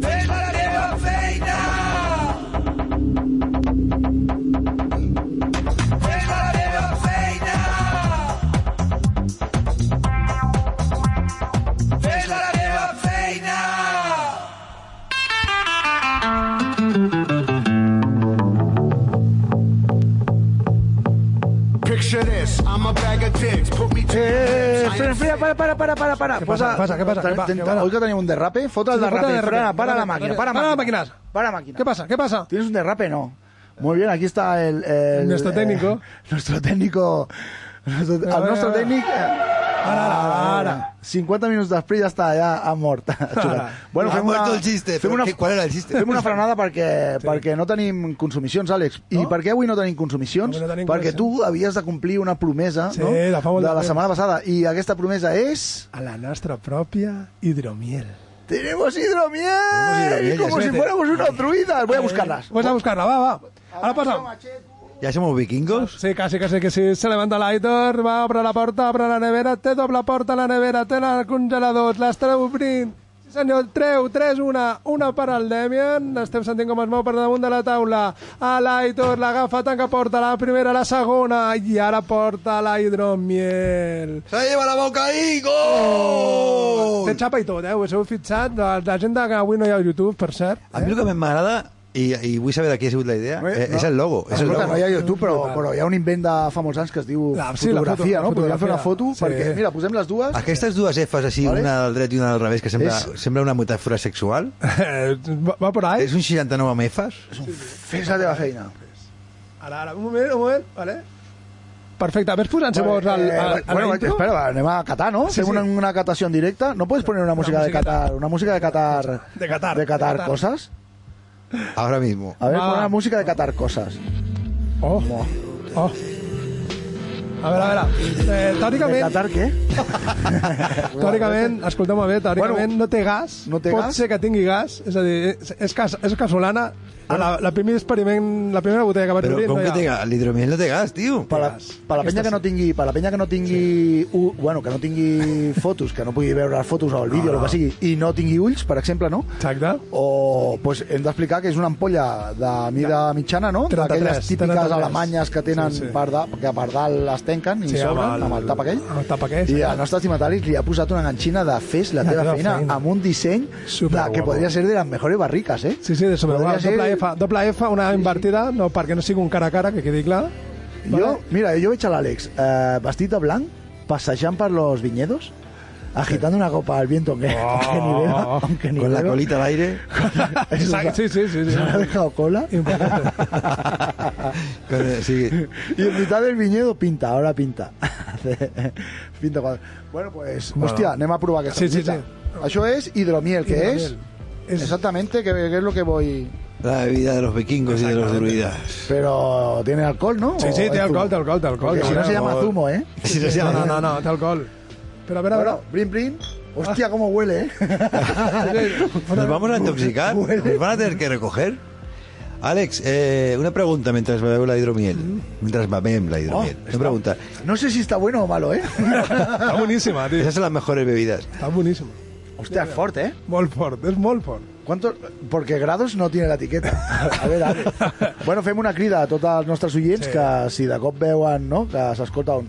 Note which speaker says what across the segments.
Speaker 1: Fes la teva feina! Fes la teva feina! Fes la teva feina!
Speaker 2: Picture this, I'm a bag of dicks, put me to
Speaker 3: Eh,
Speaker 2: the lips, I
Speaker 3: Fren,
Speaker 2: am
Speaker 3: Fren, para, para, para, para, para.
Speaker 4: Què passa, què passa, què passa?
Speaker 3: Ten-
Speaker 4: Què va,
Speaker 3: ten-
Speaker 4: què pasa?
Speaker 3: Hoy que tenim un derrape, fota el
Speaker 4: Sí,
Speaker 3: derrape.
Speaker 4: fota el derrape.
Speaker 3: Frena, para la
Speaker 4: Para,
Speaker 3: máquina,
Speaker 4: para,
Speaker 3: para,
Speaker 4: para
Speaker 3: máquina.
Speaker 4: máquinas.
Speaker 3: Para máquina.
Speaker 4: ¿Qué pasa? ¿Qué pasa?
Speaker 3: ¿Tienes un derrape? No. Muy bien, aquí está el... el-
Speaker 4: Nuestro técnico.
Speaker 3: eh, nuestro técnico... Nuestro,
Speaker 4: Venga,
Speaker 3: al nuestro
Speaker 4: venga,
Speaker 3: técnico... eh,
Speaker 4: Ara, ara.
Speaker 3: 50 minuts després ja està ja ha mort. Xula.
Speaker 5: Ha mort el xiste, però què- qual era el xiste?
Speaker 3: Fem una frenada perquè, perquè no tenim consumicions, Àlex. I
Speaker 4: No?
Speaker 3: per què avui no tenim consumicions?
Speaker 4: Avui no tenim
Speaker 3: perquè tu havies de complir una promesa
Speaker 4: Sí,
Speaker 3: no?
Speaker 4: la fa molt
Speaker 3: de
Speaker 4: de
Speaker 3: la
Speaker 4: temps.
Speaker 3: setmana passada. I aquesta promesa és...
Speaker 4: A la nuestra propia hidromiel.
Speaker 3: ¡Tenemos hidromiel!
Speaker 5: hidromiel,
Speaker 3: Como
Speaker 4: ya
Speaker 3: si
Speaker 4: sé.
Speaker 3: fuéramos unos druidas. Voy a buscarlas.
Speaker 4: Vamos a buscarla, va, va. Ahora pasa.
Speaker 5: ¿Ya somos vikingos?
Speaker 4: Sí, casi, casi que sí. Se levanta el Aitor, va, abre la puerta, abre la nevera, te dobla la puerta, la nevera, te la congelador, les treu obrint. Sí, senyor, treu, tres, una, una per al Demian. Estem sentint com es mou per damunt de la taula. A l'Aitor l'agafa, tanca porta, la primera, la segona, i ara porta la hidromiel.
Speaker 5: ¡Se lleva la boca ahí! ¡Gol!
Speaker 4: Té xapa i tot, eh? Us heu fitxat? La, la gent de que avui no hi ha YouTube, per cert.
Speaker 5: A mí lo que me agrada, y, y voy a saber de quién es la idea,
Speaker 3: Eh,
Speaker 5: eh,
Speaker 3: no.
Speaker 5: es el logo. Es el
Speaker 3: Escolta,
Speaker 5: logo.
Speaker 3: no hi ha YouTube, però, però hi ha un invent de fa molts anys que es diu
Speaker 4: La- Ah, sí, la foto,
Speaker 3: fotografia,
Speaker 4: la
Speaker 3: no? Podríem fer una foto,
Speaker 4: fotografia. Sí.
Speaker 3: perquè, mira, posem les dues.
Speaker 5: Aquestes dues Fs així,
Speaker 3: Vale.
Speaker 5: una al dret i una al revés, que sembla,
Speaker 3: És-
Speaker 5: sembla una metàfora sexual.
Speaker 4: va, va por ahí.
Speaker 5: És un 69 amb Fs?
Speaker 3: Fes la teva feina.
Speaker 4: Ara, ara, un moment, un moment, vale? Perfecte, ves posant-se vos al,
Speaker 3: Eh,
Speaker 4: al, al
Speaker 3: bueno,
Speaker 4: intro?
Speaker 3: espera, va, anem a Qatar, no?
Speaker 4: Sí,
Speaker 3: Fem
Speaker 4: sí.
Speaker 3: una, una catació en directe. No pots poner una música de
Speaker 4: musiqueta.
Speaker 3: Qatar, una música de Qatar... De
Speaker 4: De Qatar,
Speaker 3: Qatar,
Speaker 4: de Qatar.
Speaker 3: cosas.
Speaker 5: Ahora mismo.
Speaker 3: A ver,
Speaker 4: Va.
Speaker 3: pon una música de Qatar, cosas.
Speaker 4: Oh, oh. A veure, a veure, eh,
Speaker 3: De
Speaker 4: teòricament,
Speaker 3: Qatar, què?
Speaker 4: teòricament, escolteu-me bé, teòricament
Speaker 3: Bueno,
Speaker 4: no té gas,
Speaker 3: no té
Speaker 4: pot
Speaker 3: gas?
Speaker 4: ser que tingui gas, és a dir, és, és, cas, és casolana, a la, la primer experiment, la primera botella que vaig
Speaker 5: Però
Speaker 4: obrir
Speaker 5: com
Speaker 4: no
Speaker 5: que
Speaker 4: hi
Speaker 5: té
Speaker 4: ha.
Speaker 5: gas? L'hidromiel no té gas, tio.
Speaker 3: per la,
Speaker 4: Aquestes-
Speaker 3: per la penya que no tingui, per la penya que no tingui, u, bueno, que no tingui fotos, que no pugui veure les fotos o el vídeo, o el que sigui, i no tingui ulls, per exemple, no?
Speaker 4: Exacte.
Speaker 3: O pues, hem d'explicar que és una ampolla de mida mitjana, no?
Speaker 4: 33,
Speaker 3: D'aquelles típiques
Speaker 4: 33.
Speaker 3: alemanyes que tenen
Speaker 4: Sí, sí.
Speaker 3: Per da, que per dalt les tenquen i
Speaker 4: Sí, amb
Speaker 3: s'obren amb,
Speaker 4: el-
Speaker 3: el tap aquell.
Speaker 4: amb el tap aquell,
Speaker 3: I
Speaker 4: sí.
Speaker 3: al nostre estimatari li ha posat una ganxina de fes la, teva, feina, amb un disseny de,
Speaker 4: Superguapo.
Speaker 3: que podria ser de les mejores barricas, eh?
Speaker 4: Sí, sí, de sobre,
Speaker 3: Podria
Speaker 4: igual,
Speaker 3: ser-
Speaker 4: doble F, doble F, una invertida, no, perquè no sigui un cara a cara, que quedi clar.
Speaker 3: Jo, mira, jo veig a l'Àlex eh, vestit de blanc, passejant per los viñedos, agitando una copa al viento, aunque, aunque ni vela, aunque ni
Speaker 5: Con la
Speaker 3: vela.
Speaker 5: colita al aire,
Speaker 3: Eso,
Speaker 4: Exacte, Oh. sí, sí, sí, sí.
Speaker 3: ¿Se le ha dejado cola?
Speaker 4: Importante.
Speaker 5: con, eh, sí,
Speaker 3: Y en mitad del viñedo pinta, ahora pinta. pinta cuadro. Bueno, pues, hostia, anem a provar aquesta
Speaker 4: Sí, sí,
Speaker 3: cosita.
Speaker 4: sí.
Speaker 3: Això és hidromiel, que és...
Speaker 4: És-
Speaker 3: Exactamente, que, que es lo que voy...
Speaker 5: la bebida de los vikingos y de los druidas.
Speaker 3: Pero tiene alcohol, ¿no?
Speaker 4: Sí, sí,
Speaker 3: ¿O
Speaker 4: té
Speaker 3: es zumo?
Speaker 4: alcohol, té alcohol, té alcohol,
Speaker 3: Porque
Speaker 4: té
Speaker 3: si no se
Speaker 4: alcohol.
Speaker 3: llama zumo, ¿eh?
Speaker 5: Si no,
Speaker 4: No,
Speaker 5: no,
Speaker 4: no, no, no, té alcohol. Però a veure, a veure,
Speaker 3: Bueno, brin, brin.
Speaker 4: Ah.
Speaker 3: Hostia, cómo huele, ¿eh?
Speaker 5: ¿Nos vamos a intoxicar? ¿Nos van a tener que recoger? Alex, eh, una pregunta mientras bebemos la hidromiel. Mientras bebemos la hidromiel. Una pregunta.
Speaker 3: No sé si está bueno o malo, ¿eh?
Speaker 4: està boníssima, tio.
Speaker 5: Esas son las mejores bebidas.
Speaker 4: Està boníssima.
Speaker 3: Hostia, es fuerte, ¿eh?
Speaker 4: Molt fort, és molt fort.
Speaker 3: ¿Cuántos? Porque grados no tiene la etiqueta. A ver, a ver. Bueno, fem una crida a tots els nostres oients
Speaker 4: Sí.
Speaker 3: sí. que si de cop veuen, no?, que s'escolta un...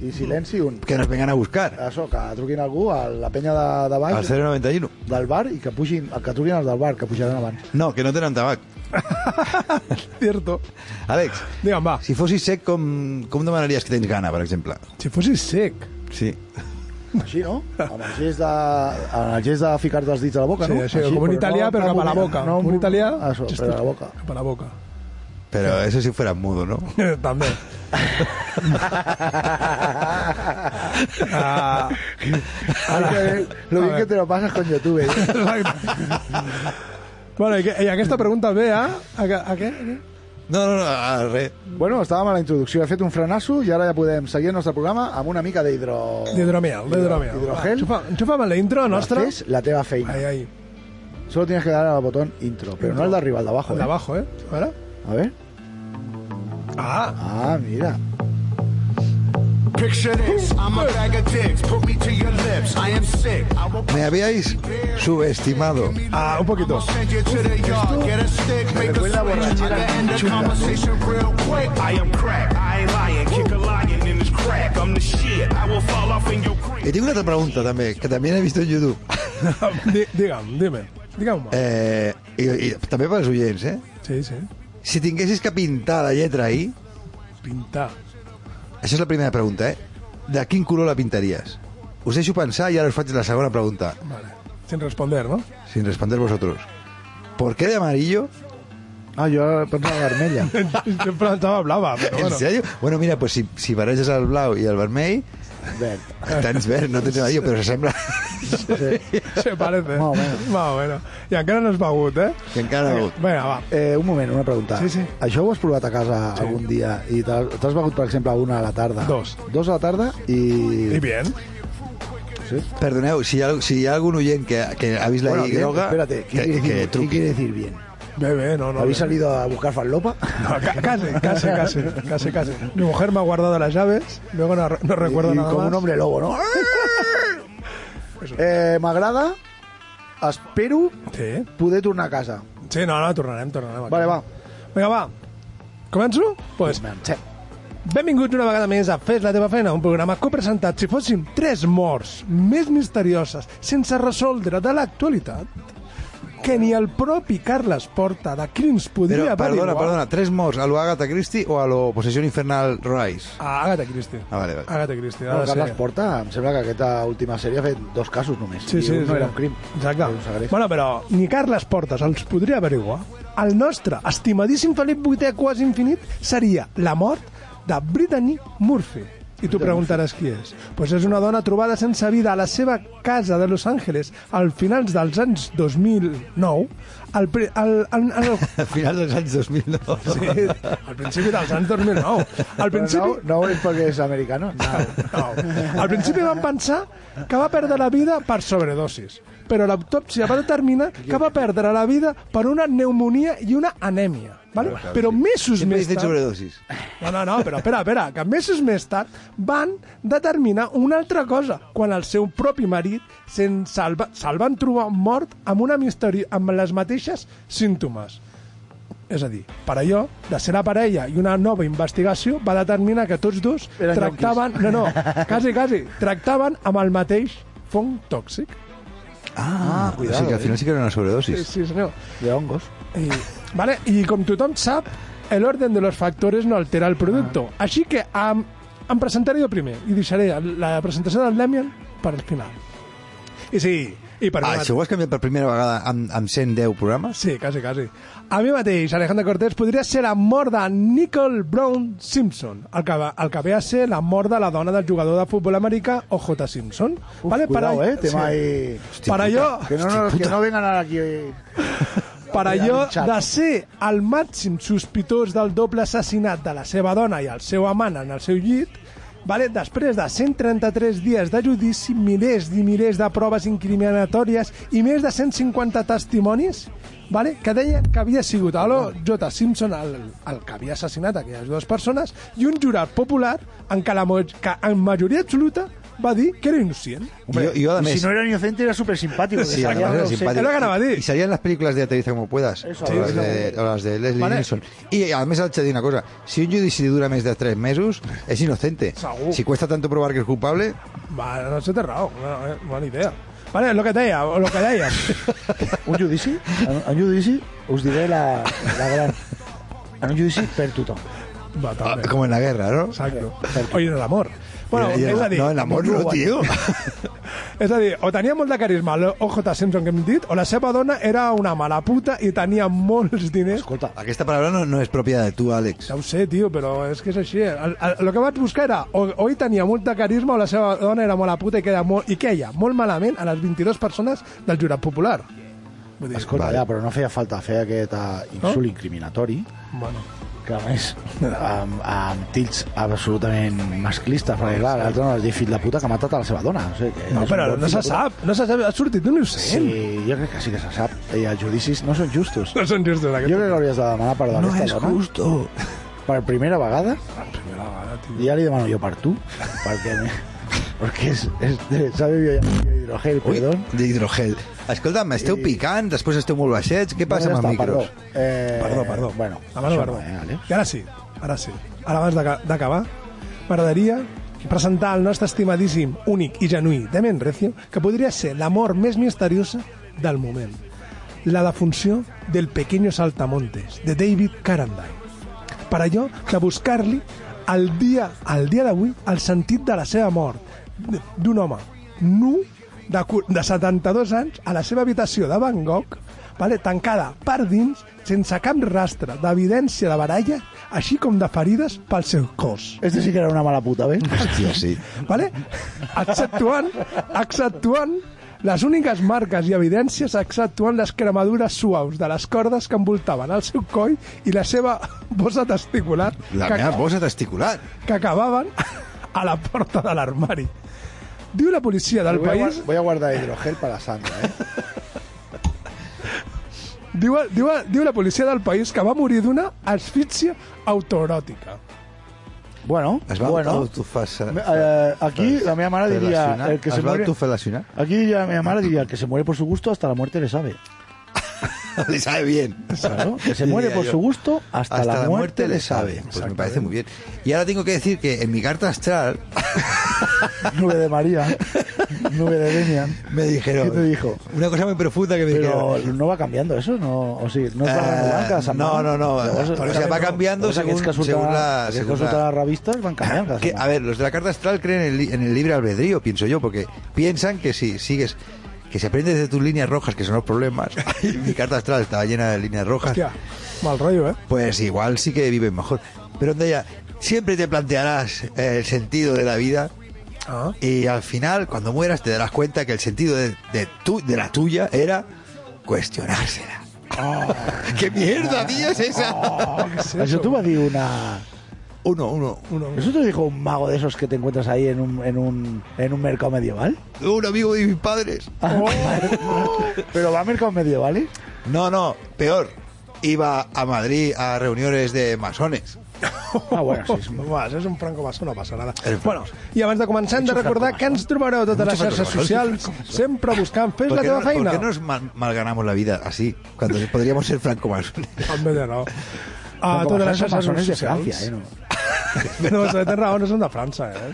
Speaker 3: I silenci un...
Speaker 5: Que nos vengan a buscar.
Speaker 3: Això, que truquin algú a la penya de, de baix,
Speaker 5: Al 091.
Speaker 3: del bar, i que pugin... Que truquin els del bar, que pujaran abans.
Speaker 5: No, que no tengan tabac.
Speaker 4: Cierto.
Speaker 5: Alex,
Speaker 4: Digue'm, va,
Speaker 5: si mm, fossis sec, com, com demanaries que tens gana, per exemple?
Speaker 4: si fossis sec,
Speaker 5: Sí.
Speaker 3: Així, no? Amb el gest de, amb el gest de ficar-te els dits a la boca,
Speaker 4: Sí,
Speaker 3: no?
Speaker 4: així, com un italià, però cap a la
Speaker 3: amb-
Speaker 4: boca.
Speaker 3: No,
Speaker 4: Com un italià,
Speaker 3: Això, però a la boca.
Speaker 4: cap a la boca.
Speaker 5: Pero eso si fuera mudo, ¿no?
Speaker 4: També. Ah,
Speaker 3: Ai, que bé, eh, lo bien que te lo pasas con YouTube. eh?
Speaker 4: exacte. bueno, i, que, i aquesta pregunta ve ¿eh? a... A, que- a, què? a què?
Speaker 5: No, no, no, ah, res.
Speaker 3: Bueno, estàvem a la introducció, he fet un frenasso i ara ja podem seguir el nostre programa amb una mica d'hidro...
Speaker 4: D'hidromiel, d'hidromiel.
Speaker 3: Hidrogel.
Speaker 4: Va, enxufa- Enxufa'm la intro nostra.
Speaker 3: Fes la teva feina.
Speaker 4: Ahí, ahí.
Speaker 3: Solo tienes que dar al botón intro, pero no al de arriba, al de abajo. ¿eh?
Speaker 4: Al de abajo, ¿eh? ¿Ahora?
Speaker 3: A ver.
Speaker 4: Ah,
Speaker 3: Ah, mira.
Speaker 6: Picture this, I'm a bag of dicks, put me to your lips, I am sick. I will
Speaker 5: Me habíais subestimado.
Speaker 4: ah, un poquito.
Speaker 6: send you to the yard, get a stick, make a switch.
Speaker 3: recuerda
Speaker 6: I
Speaker 3: borrachera
Speaker 6: can end the conversation real quick.
Speaker 7: I am crack, I ain't lying, kick a lion in his crack. I'm the shit, I will fall off in your creek.
Speaker 5: Y tengo una otra pregunta también, que también he visto en YouTube.
Speaker 4: Di- Digue'm, dime. Digue'm.
Speaker 5: Eh, i, i també pels oients, eh?
Speaker 4: Sí, sí.
Speaker 5: Si tinguessis que pintar la lletra I,
Speaker 4: Pintar.
Speaker 5: això és la primera pregunta, eh? De quin color la pintaries? Us deixo pensar i ara us faig la segona pregunta,
Speaker 4: Vale. Sin responder, ¿no?
Speaker 5: sin responder vosotros. ¿Por qué de amarillo?
Speaker 3: Ah, yo ahora pongo la vermella.
Speaker 4: Yo pensaba hablaba, pero
Speaker 5: ¿En
Speaker 4: Ah, bueno.
Speaker 5: serio? Bueno, mira, pues si, si barreges el blau i el vermell,
Speaker 3: Verd.
Speaker 5: tens verd, no tens amarillo, però s'assembla...
Speaker 4: Se parece.
Speaker 3: Más o menos.
Speaker 4: Más o menos. I encara no es begut, eh?
Speaker 5: que encara no.
Speaker 4: Vinga, va.
Speaker 3: Eh, un moment, una pregunta.
Speaker 4: Sí, sí.
Speaker 3: Això ho has provat a casa algun dia i t'has t'has begut, per exemple, una a la tarda?
Speaker 4: Dos.
Speaker 3: Dos a la tarda i...
Speaker 4: I bien.
Speaker 5: Perdoneu, si hi ha, si hi ha algun oient que, que ha vist la
Speaker 3: Bueno,
Speaker 5: I
Speaker 3: bien,
Speaker 5: groga...
Speaker 3: espérate,
Speaker 5: que,
Speaker 3: ¿qué,
Speaker 5: que,
Speaker 3: quiere decir, ¿qué
Speaker 5: truqui.
Speaker 3: quiere decir bien?
Speaker 4: Bebé, no, no.
Speaker 3: ¿Habéis
Speaker 4: bebé.
Speaker 3: salido a buscar farlopa?
Speaker 4: No, ca- casi, casi, casi, casi, casi. Mi mujer me ha guardado las llaves, luego no, no recuerdo
Speaker 3: Y
Speaker 4: nada
Speaker 3: como
Speaker 4: más.
Speaker 3: un hombre lobo, ¿no? eh, M'agrada, espero
Speaker 4: Sí,
Speaker 3: poder tornar a casa.
Speaker 4: sí, no, no, tornarem, tornarem.
Speaker 3: Vale, va. Em,
Speaker 4: Vinga, va. Començo? Pues,
Speaker 3: Sí.
Speaker 4: benvinguts una vegada més a Fes la teva feina, un programa copresentat si fóssim tres morts més misterioses sense resoldre de l'actualitat que ni el propi Carles Porta de Crims
Speaker 5: Però,
Speaker 4: podria
Speaker 5: perdona,
Speaker 4: averiguar.
Speaker 5: perdona, tres morts, a lo Agatha Christie o a lo Possession Infernal Rise?
Speaker 4: A Agatha Christie.
Speaker 5: Ah, vale, vale.
Speaker 4: Agatha Christie,
Speaker 3: No,
Speaker 4: ara
Speaker 3: Carles
Speaker 4: sí.
Speaker 3: Porta, em sembla que aquesta última sèrie ha fet dos casos només.
Speaker 4: Sí,
Speaker 3: I
Speaker 4: sí,
Speaker 3: un
Speaker 4: sí.
Speaker 3: no era un crim. Em
Speaker 4: Exacte.
Speaker 3: Era un segrest.
Speaker 4: Bueno, però ni Carles Portes els podria averiguar. El nostre estimadíssim Felip VIII quasi infinit seria la mort de Brittany Murphy. I tu preguntaràs qui és. Pues és una dona trobada sense vida a la seva casa de Los Angeles al finals dels anys 2009, al, pri- al, al, al,
Speaker 5: A finals dels anys 2009.
Speaker 4: sí, al principi dels anys 2009. Al
Speaker 3: Però
Speaker 4: principi,
Speaker 3: No, no és perquè és americano. No.
Speaker 4: No. Al principi van pensar que va perdre la vida per sobredosis, però l'autòpsia va determinar que va perdre la vida per una pneumonia i una anèmia. Vale? Però mesos
Speaker 5: Sempre
Speaker 4: més
Speaker 5: dicen
Speaker 4: tard...
Speaker 5: sobredosis.
Speaker 4: No, no, no, però espera, espera, que mesos més tard van determinar una altra cosa, quan el seu propi marit se'n salva, se'l van trobar mort amb, una misteri... amb les mateixes símptomes. És a dir, per allò, de ser la parella i una nova investigació va determinar que tots dos
Speaker 3: Eren
Speaker 4: tractaven... No, no, quasi, quasi, tractaven amb el mateix fong tòxic.
Speaker 5: Ah, cuidado. O sigui que al final sí que era una sobredosis.
Speaker 4: eh. Sí, sí senyor.
Speaker 3: De hongos.
Speaker 4: Y, ¿Vale? Y com tothom sap, el orden de los factores no altera el producto.
Speaker 3: Ah.
Speaker 4: Així que em, em presentaré jo primer i deixaré la presentació del Demian per al final. I sí, i per
Speaker 5: Ah,
Speaker 4: mi mate-
Speaker 5: això ho has canviat per primera vegada amb, amb 110 programes?
Speaker 4: Sí, quasi, quasi. A mi mateix, Alejandro Cortés, podria ser la mort de Nicole Brown Simpson, el que, va- el que ve a ser la mort de la dona del jugador de futbol americà O.J. Simpson.
Speaker 3: Uf, vale, cuidao,
Speaker 4: a-
Speaker 3: eh? Tema ahí...
Speaker 4: per allò,
Speaker 3: Que no, no, que no vengan ara aquí... eh.
Speaker 4: per allò
Speaker 3: Xat.
Speaker 4: de ser el màxim sospitós del doble assassinat de la seva dona i el seu amant en el seu llit, vale? després de 133 dies de judici, milers i milers de proves incriminatòries i més de 150 testimonis vale? que deien que havia sigut Alo J. Simpson el, el que havia assassinat aquelles dues persones i un jurat popular en què la mo- que en majoria absoluta va dir que era innocent.
Speaker 5: Hombre, jo, jo, a
Speaker 3: Y
Speaker 5: més...
Speaker 3: si no era inocente, era súper simpático.
Speaker 5: Sí, además era simpático.
Speaker 4: Es lo que anava a dir.
Speaker 5: I serien les pel·lícules de Aterriza como puedas,
Speaker 3: Eso,
Speaker 5: o,
Speaker 3: sí,
Speaker 5: les
Speaker 3: sí.
Speaker 5: de, o les de Leslie
Speaker 4: Vale.
Speaker 5: Nielsen. I a més haig de dir una cosa, si un judici dura més de 3 mesos, és inocente.
Speaker 4: Segur.
Speaker 5: Si cuesta tanto probar que és culpable,
Speaker 4: Va, no sé, té raó, no, eh, bona idea. Vale, lo que deia, lo que deia.
Speaker 3: Un judici, en, en judici, us diré la, la gran... En un judici per tothom.
Speaker 4: Va,
Speaker 5: ah,
Speaker 4: també.
Speaker 5: com en la guerra, no?
Speaker 4: Exacto. O en el amor. Bueno,
Speaker 5: I- i-
Speaker 4: és a dir,
Speaker 5: no, en amor no, tio.
Speaker 4: és a dir, o tenia molt de carisma l'OJ Simpson que hem dit, o la seva dona era una mala puta i tenia molts diners.
Speaker 3: Escolta,
Speaker 5: Aquesta paraula no, no és pròpia de tu, Àlex.
Speaker 4: Ja ho sé, tio, però és que és així. El, el, el que vaig buscar era, o, o ell tenia molt de carisma o la seva dona era mala puta i queda molt, i queia molt malament a les 22 persones del jurat popular. Vull dir,
Speaker 3: escolta,
Speaker 5: Vale.
Speaker 3: ja, però no feia falta fer aquest uh, insult eh, incriminatori
Speaker 4: bueno,
Speaker 3: que a més amb, amb tilts absolutament masclistes perquè clar, l'altre no es diu fill de puta que ha matat a la seva dona o sigui, que
Speaker 4: No,
Speaker 3: és un
Speaker 4: però
Speaker 3: bon
Speaker 4: no
Speaker 3: fill
Speaker 4: se
Speaker 3: de puta.
Speaker 4: sap, no se sap, ha sortit d'un innocent.
Speaker 3: sí, jo crec que sí que se sap i els judicis no són justos
Speaker 4: No són justos,
Speaker 3: jo
Speaker 4: aquest.
Speaker 3: crec que hauries de demanar perdó a aquesta dona
Speaker 4: justo.
Speaker 3: per primera vegada
Speaker 4: Primera vegada, tio.
Speaker 3: ja li demano jo per tu perquè, perquè és, és de, sabe bio, hidrogel,
Speaker 5: Ui,
Speaker 3: perdón
Speaker 5: d'hidrogel. Escolta'm, esteu picant, després esteu molt baixets, què passa
Speaker 3: Bueno, ja
Speaker 5: amb els
Speaker 3: està,
Speaker 5: micros?
Speaker 3: Perdó, eh,
Speaker 4: Perdó, perdó.
Speaker 3: Bueno,
Speaker 4: Demano
Speaker 3: això
Speaker 4: perdó.
Speaker 3: no, eh, Àlex?
Speaker 4: I ara sí, ara sí. Ara abans d'aca- d'acabar, m'agradaria presentar el nostre estimadíssim, únic i genuí Demian Recio, que podria ser la mort més misteriosa del moment. La defunció del Pequeño Saltamontes, de David Carandine. Per allò de buscar-li el dia, el dia d'avui el sentit de la seva mort d- d'un home nu de, cu- de 72 anys a la seva habitació de Bangkok vale, tancada per dins sense cap rastre d'evidència de baralla així com de ferides pel seu cos
Speaker 3: Este sí que era una mala puta, ¿ves?
Speaker 5: Hòstia, Ah, sí.
Speaker 4: vale? exceptuant, exceptuant les úniques marques i evidències exceptuant les cremadures suaus de les cordes que envoltaven el seu coll i la seva bossa testicular
Speaker 5: La
Speaker 4: que,
Speaker 5: meva bossa testicular.
Speaker 4: que acabaven a la porta de l'armari. Diu la policia del
Speaker 3: Voy a,
Speaker 4: país...
Speaker 3: guar- voy a guardar hidrogel para Sandra, ¿eh?
Speaker 4: Diu, diu, diu la policia del país que va morir d'una asfíxia autoeròtica.
Speaker 3: Bueno,
Speaker 5: Es va
Speaker 3: bueno.
Speaker 5: autofasa-
Speaker 3: Me- eh, aquí la meva mare diria...
Speaker 5: Relacionar.
Speaker 3: El que se
Speaker 5: es va
Speaker 3: muere,
Speaker 5: autofelacionar.
Speaker 3: aquí diria la meva mare diria el que se muere por su gusto hasta la muerte le sabe.
Speaker 5: Le sabe bien.
Speaker 3: Claro, que se muere
Speaker 5: Diría
Speaker 3: por
Speaker 5: yo.
Speaker 3: su gusto hasta, la, muerte le sabe.
Speaker 5: Pues me parece muy bien. Y ahora tengo que decir que en mi carta astral
Speaker 3: Nube de María, nube de Demian.
Speaker 5: me dijeron...
Speaker 3: ¿Qué te dijo?
Speaker 5: Una cosa muy profunda que me
Speaker 3: Pero
Speaker 5: dijeron.
Speaker 3: no va cambiando eso, no, o sigui, no es va
Speaker 5: Eh,
Speaker 3: renovar cada setmana.
Speaker 5: no, no, no,
Speaker 3: Llavors,
Speaker 5: o sigui, va canviando
Speaker 3: llavors aquests
Speaker 5: según-
Speaker 3: que surten,
Speaker 5: según la-
Speaker 3: aquests
Speaker 5: según
Speaker 3: que surten
Speaker 5: la- Ah,
Speaker 3: a les revistes van canviant cada
Speaker 5: Que,
Speaker 3: setmana.
Speaker 5: a ver, los de la carta astral creen en el, li- en el libre albedrío, pienso yo, porque piensan que si sigues, que si aprendes de tus líneas rojas, que son los problemas, y mi carta astral estaba llena de líneas rojas,
Speaker 4: Hòstia, mal rotllo, eh?
Speaker 5: pues igual sí que vives mejor. Pero onda ya, siempre te plantearás eh, el sentido de la vida
Speaker 4: Ah.
Speaker 5: y al final, cuando mueras, te darás cuenta que el sentido de, de tu, de la tuya era cuestionársela. ¡Qué mierda, tío, es esa!
Speaker 4: Sí,
Speaker 3: Això t'ho va dir una...
Speaker 5: Uno, uno.
Speaker 4: Uno,
Speaker 3: ¿Eso te dijo un mago de esos que te encuentras ahí en un, en un, en un mercado medieval? Ah,
Speaker 5: Un amigo de mis padres.
Speaker 3: Pero va a mercados medievales.
Speaker 5: No, no, peor. Iba a Madrid a reuniones de masones.
Speaker 3: Ah, bueno, sí. Eh. sí.
Speaker 4: Va, això és un franco bassa, no passa nada.
Speaker 5: El
Speaker 4: Bueno,
Speaker 5: franco.
Speaker 4: i abans de començar hem de recordar que ens trobareu a totes les
Speaker 5: franco
Speaker 4: xarxes
Speaker 5: bassa,
Speaker 4: socials, sempre buscant fes
Speaker 5: ¿Por
Speaker 4: la
Speaker 5: qué,
Speaker 4: teva
Speaker 5: no- por
Speaker 4: feina.
Speaker 5: qué nos mal, malganamos la vida así? Cuando podríamos ser francomasones.
Speaker 4: També ja no. A
Speaker 3: Franco
Speaker 4: totes les
Speaker 3: Basán
Speaker 4: xarxes
Speaker 3: són maçones
Speaker 4: socials.
Speaker 3: de Francia, eh? No.
Speaker 4: No, se té raó, no són de França, eh?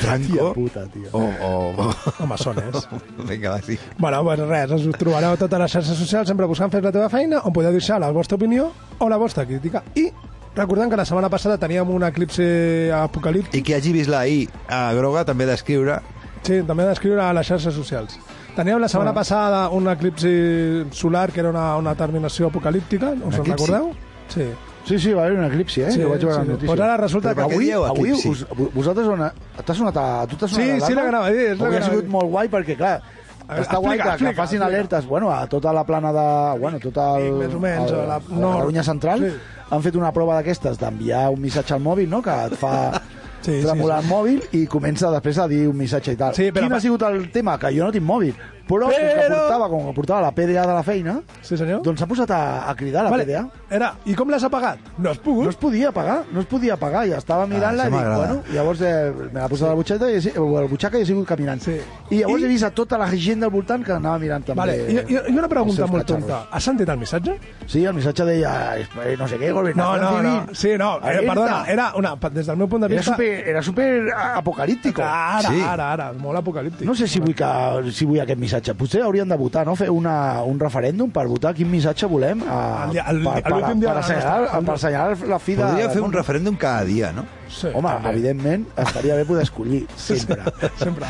Speaker 5: Franco.
Speaker 3: Tía puta, tío.
Speaker 5: O, o- o-
Speaker 4: O maçones.
Speaker 5: Venga, va, sí.
Speaker 4: Bueno, pues res, us trobareu a totes les xarxes socials sempre buscant fer la teva feina, on podeu deixar la vostra opinió o la vostra crítica. I recordant que la setmana passada teníem un eclipse apocalíptic,
Speaker 5: I que hagi vist la I a Groga també d'escriure
Speaker 4: sí, també ha d'escriure a les xarxes socials. Teníem la setmana passada un eclipsi solar que era una, una terminació apocalíptica, us en
Speaker 5: eclipsi?
Speaker 4: recordeu? Sí.
Speaker 3: Sí, sí, va haver un eclipsi, eh?
Speaker 4: Sí,
Speaker 3: Sí, jo vaig veure
Speaker 4: sí.
Speaker 3: sí, la notícia.
Speaker 4: Pues ara resulta
Speaker 5: Però
Speaker 4: que
Speaker 5: per què
Speaker 3: avui,
Speaker 5: dieu
Speaker 3: avui
Speaker 5: eclipsi?
Speaker 3: us, vosaltres on... T'ha sonat a... Tu t'ha sonat
Speaker 4: Sí,
Speaker 3: l'alarma?
Speaker 4: sí, la grava, sí, és la
Speaker 3: Hauria
Speaker 4: grava.
Speaker 3: sigut molt guai perquè, clar,
Speaker 4: A veure,
Speaker 3: està guai
Speaker 4: explica,
Speaker 3: que, que
Speaker 4: explica,
Speaker 3: facin
Speaker 4: explica.
Speaker 3: alertes bueno, a tota la plana de... Bueno, tot el,
Speaker 4: Vic, més o menys,
Speaker 3: el,
Speaker 4: a la-
Speaker 3: la
Speaker 4: nord.
Speaker 3: Catalunya central.
Speaker 4: Sí.
Speaker 3: Han fet una prova d'aquestes d'enviar un missatge al mòbil, no?, que et fa
Speaker 4: Sí, sí,
Speaker 3: tremolar
Speaker 4: sí.
Speaker 3: el mòbil i comença després a dir un missatge i tal.
Speaker 4: Sí, però-
Speaker 3: Quin ha sigut el tema? Que jo no tinc mòbil. Però, com que
Speaker 4: Però-
Speaker 3: portava, com que portava la PDA de la feina,
Speaker 4: Sí, senyor.
Speaker 3: doncs s'ha posat a, a cridar la
Speaker 4: Vale.
Speaker 3: PDA.
Speaker 4: Era, I com l'has apagat? No has pogut.
Speaker 3: No es podia pagar, no es podia pagar, ja estava mirant-la
Speaker 5: Ah, això
Speaker 3: i dic,
Speaker 5: m'agrada.
Speaker 3: bueno, llavors eh, me la posat a la butxeta i he, si- o a la butxaca i he sigut caminant.
Speaker 4: Sí.
Speaker 3: I llavors
Speaker 4: I-
Speaker 3: he vist a tota la gent del voltant que anava mirant també.
Speaker 4: Vale, i, i, i una
Speaker 3: els
Speaker 4: pregunta
Speaker 3: seus
Speaker 4: molt
Speaker 3: catxarros.
Speaker 4: tonta. Has sentit el missatge?
Speaker 3: Sí, el missatge deia, eh, no sé què,
Speaker 4: No,
Speaker 3: gobernació
Speaker 4: no,
Speaker 3: civil.
Speaker 4: no. Sí, no. Era,
Speaker 3: Alerta.
Speaker 4: perdona, era una... Des del meu punt de
Speaker 3: Era
Speaker 4: vista... Ah,
Speaker 3: super, era super apocalíptico.
Speaker 4: Ara,
Speaker 5: Sí.
Speaker 4: ara, ara, molt apocalíptic.
Speaker 3: No sé si vull, que, si vull aquest missatge. Potser hauríem de votar, no? Fer una, un referèndum per votar quin missatge volem a,
Speaker 4: El dia- el-
Speaker 3: per, per,
Speaker 4: l'últim
Speaker 3: per,
Speaker 4: dia de la nostra-
Speaker 3: assenyalar, per assenyalar la fi de...
Speaker 5: Podríem fer
Speaker 3: del
Speaker 5: un referèndum cada dia, no?
Speaker 4: Sí,
Speaker 3: Home,
Speaker 4: també.
Speaker 3: evidentment, estaria bé poder escollir sempre.
Speaker 4: Sempre.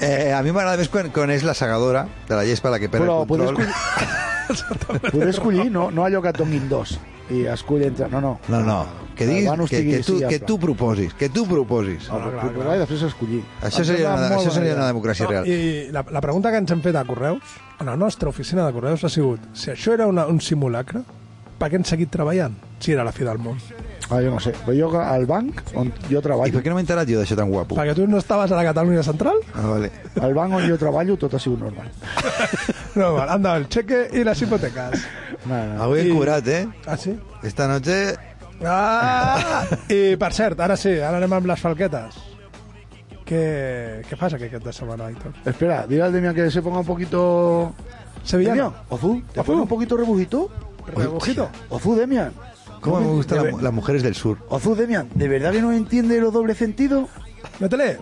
Speaker 5: Eh, a mi m'agrada més quan, quan és la segadora de la gespa la que perd
Speaker 3: Però
Speaker 5: el
Speaker 3: poder
Speaker 5: control.
Speaker 3: escollir, poder escollir no, no allò que et donin dos i escull entre... No, no.
Speaker 5: No, no, que diguis
Speaker 3: Van
Speaker 5: que, que,
Speaker 3: hostigui,
Speaker 5: tu,
Speaker 3: sí,
Speaker 5: que
Speaker 3: en
Speaker 5: tu proposis, que tu proposis.
Speaker 3: plan. No, proposar i després escollir.
Speaker 5: Això
Speaker 3: Em
Speaker 5: seria,
Speaker 3: sembla
Speaker 5: una,
Speaker 3: molt
Speaker 5: això seria
Speaker 3: bona
Speaker 5: una
Speaker 3: idea.
Speaker 5: democràcia
Speaker 4: No,
Speaker 5: real.
Speaker 4: I la, la pregunta que ens hem fet a Correus, a la nostra oficina de Correus, ha sigut si això era una, un simulacre per què han seguit treballant si era la fi del món?
Speaker 3: Ah, jo no sé. Però jo al banc on
Speaker 5: I
Speaker 3: jo
Speaker 5: per
Speaker 3: treballo,
Speaker 5: què no m'he enterat jo d'això tan guapo?
Speaker 4: Perquè tu no estaves a la Catalunya Central?
Speaker 5: Ah, vale.
Speaker 3: al banc on jo treballo tot ha sigut normal.
Speaker 4: No, val, anda, el cheque i les hipoteques.
Speaker 3: No, no.
Speaker 5: Avui he cobrat, eh?
Speaker 4: Ah, sí?
Speaker 5: Esta noche...
Speaker 4: Ah! I, per cert, ara sí, ara anem amb les falquetes. Què, què fas aquest cap de setmana, Aitor?
Speaker 3: Espera, dile al Demian que se ponga un poquito...
Speaker 4: Sevillano?
Speaker 3: Ozu, ¿te
Speaker 4: Ozu.
Speaker 3: pones un poquito rebujito?
Speaker 4: Rebujito.
Speaker 3: Ozu, Demian.
Speaker 5: ¿Cómo me
Speaker 3: De
Speaker 5: gustan
Speaker 3: ver-
Speaker 5: las, las mujeres del sur?
Speaker 3: Ozu, Demian, ¿de verdad que no entiende los dobles sentidos?
Speaker 4: Métele!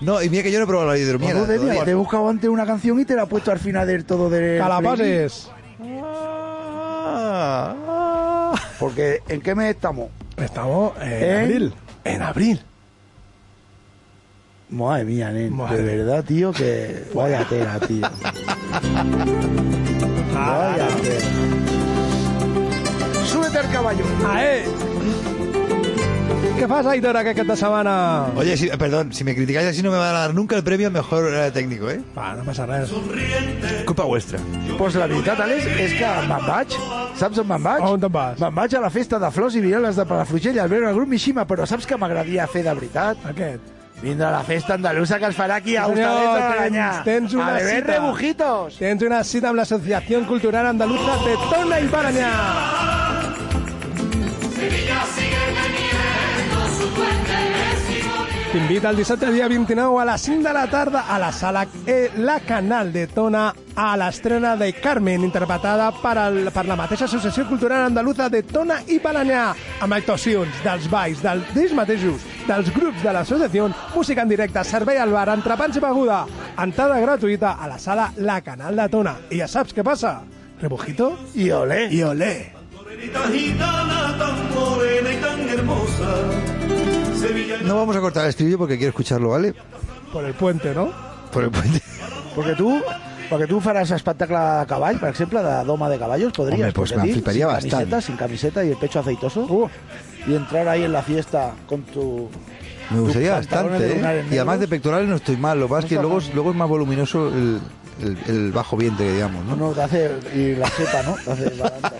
Speaker 5: No, y mira que yo no he probado la hidromiel.
Speaker 3: Ozu, Demian, te he buscado antes una canción y te la he puesto al final del todo del...
Speaker 4: Que la
Speaker 3: playlist.
Speaker 4: passis!
Speaker 3: Porque, ¿en qué mes estamos?
Speaker 4: Estamos en
Speaker 3: En-
Speaker 4: abril. En abril.
Speaker 3: Madre mía, nen,
Speaker 4: Madre.
Speaker 3: de verdad, tío, que... Vaya tela, tío. Vaya tela. Súbete al caballo.
Speaker 4: Ae! Què fas, Aitor, aquest cap de setmana?
Speaker 5: Oye, si- perdón, si me criticáis así no me van a dar nunca el premio al mejor eh, técnico, ¿eh?
Speaker 4: Va, no passa res.
Speaker 5: Culpa vuestra.
Speaker 3: Pues la veritat, Àlex, és que me'n vaig. Saps on me'n vaig?
Speaker 4: On te'n vas?
Speaker 3: Me'n vaig a la festa de flors i violes de Palafrugell al veure el grup Mishima, però saps que m'agradaria fer de veritat?
Speaker 4: Aquest.
Speaker 3: Vindre a la festa andalusa que es farà aquí a
Speaker 4: Sí, senyor,
Speaker 3: Hostalets de
Speaker 4: tens-
Speaker 3: l'Aranyà.
Speaker 4: tens una
Speaker 3: A beber
Speaker 4: cita.
Speaker 3: rebujitos.
Speaker 4: Tens una cita amb l'Associació Cultural Andaluza de Tona i Baranyà. T'invita el dissabte dia 29 a les 5 de la tarda a la sala E, la Canal de Tona a l'estrena de Carmen, interpretada per, el, per la mateixa Associació Cultural Andaluza de Tona i Balanyà, amb actuacions dels balls, del, d'ells mateixos, dels grups de l'associació, música en directe, servei al bar, entrepans i beguda, entrada gratuïta a la sala La Canal de Tona. I ja saps què passa? Rebujito
Speaker 3: I olé.
Speaker 4: i olé.
Speaker 5: No vamos a cortar el estribillo porque quiero escucharlo, ¿vale?
Speaker 4: Por el puente, no?
Speaker 5: Por el puente.
Speaker 3: Perquè tu, perquè tu faràs espectacle de cavall, per exemple, de doma de caballos, podries.
Speaker 5: Home, pues
Speaker 3: porque
Speaker 5: me
Speaker 3: a ti,
Speaker 5: fliparía
Speaker 3: sin
Speaker 5: bastante.
Speaker 3: Camiseta, sin camiseta y el pecho aceitoso. Y entrar ahí en la fiesta con tu...
Speaker 5: Me gustaría
Speaker 3: tus pantalones
Speaker 5: bastante,
Speaker 3: de
Speaker 5: ¿eh?
Speaker 3: lunares
Speaker 5: Y además de
Speaker 3: negros.
Speaker 5: pectorales no estoy mal, lo que pasa es que luego, es- luego es más voluminoso el, el- el bajo vientre, digamos, ¿no?
Speaker 3: No, te hace... Y la cepa, ¿no? Te hace... balanzas.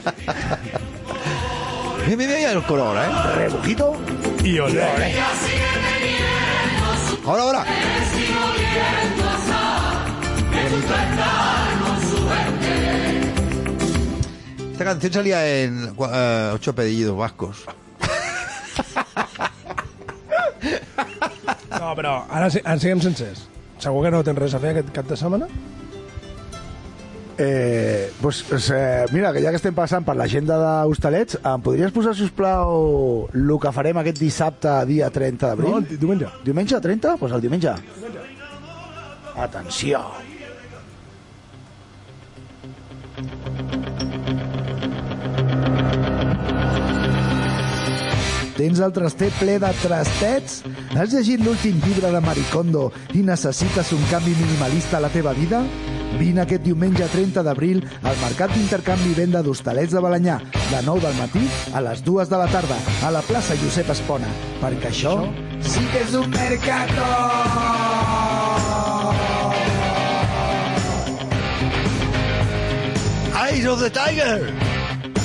Speaker 5: Mira, mira, mira el coro ahora, ¿eh?
Speaker 3: Rebujito.
Speaker 4: I olé.
Speaker 5: Ahora, ahora. Esta canción salía en cua- eh, Ocho apellidos vascos.
Speaker 4: No, però ara, sí- ara siguem sincers. Segur que no tens res a fer aquest cap de setmana?
Speaker 8: Eh, pues, pues, eh, mira, que ja que estem passant per l'agenda d'Hostalets, em podries posar, sisplau, el que farem aquest dissabte, dia 30 d'abril?
Speaker 4: No, di- diumenge.
Speaker 8: Diumenge 30? Doncs pues el diumenge. Atenció. Tens el traster ple de trastets? Has llegit l'últim llibre de Maricondo i necessites un canvi minimalista a la teva vida? Vine aquest diumenge 30 d'abril al Mercat d'Intercanvi i Venda d'Hostalets de Balanyà, de 9 del matí a les 2 de la tarda, a la plaça Josep Espona, perquè això sí que és un mercado!
Speaker 5: Eyes of the Tiger.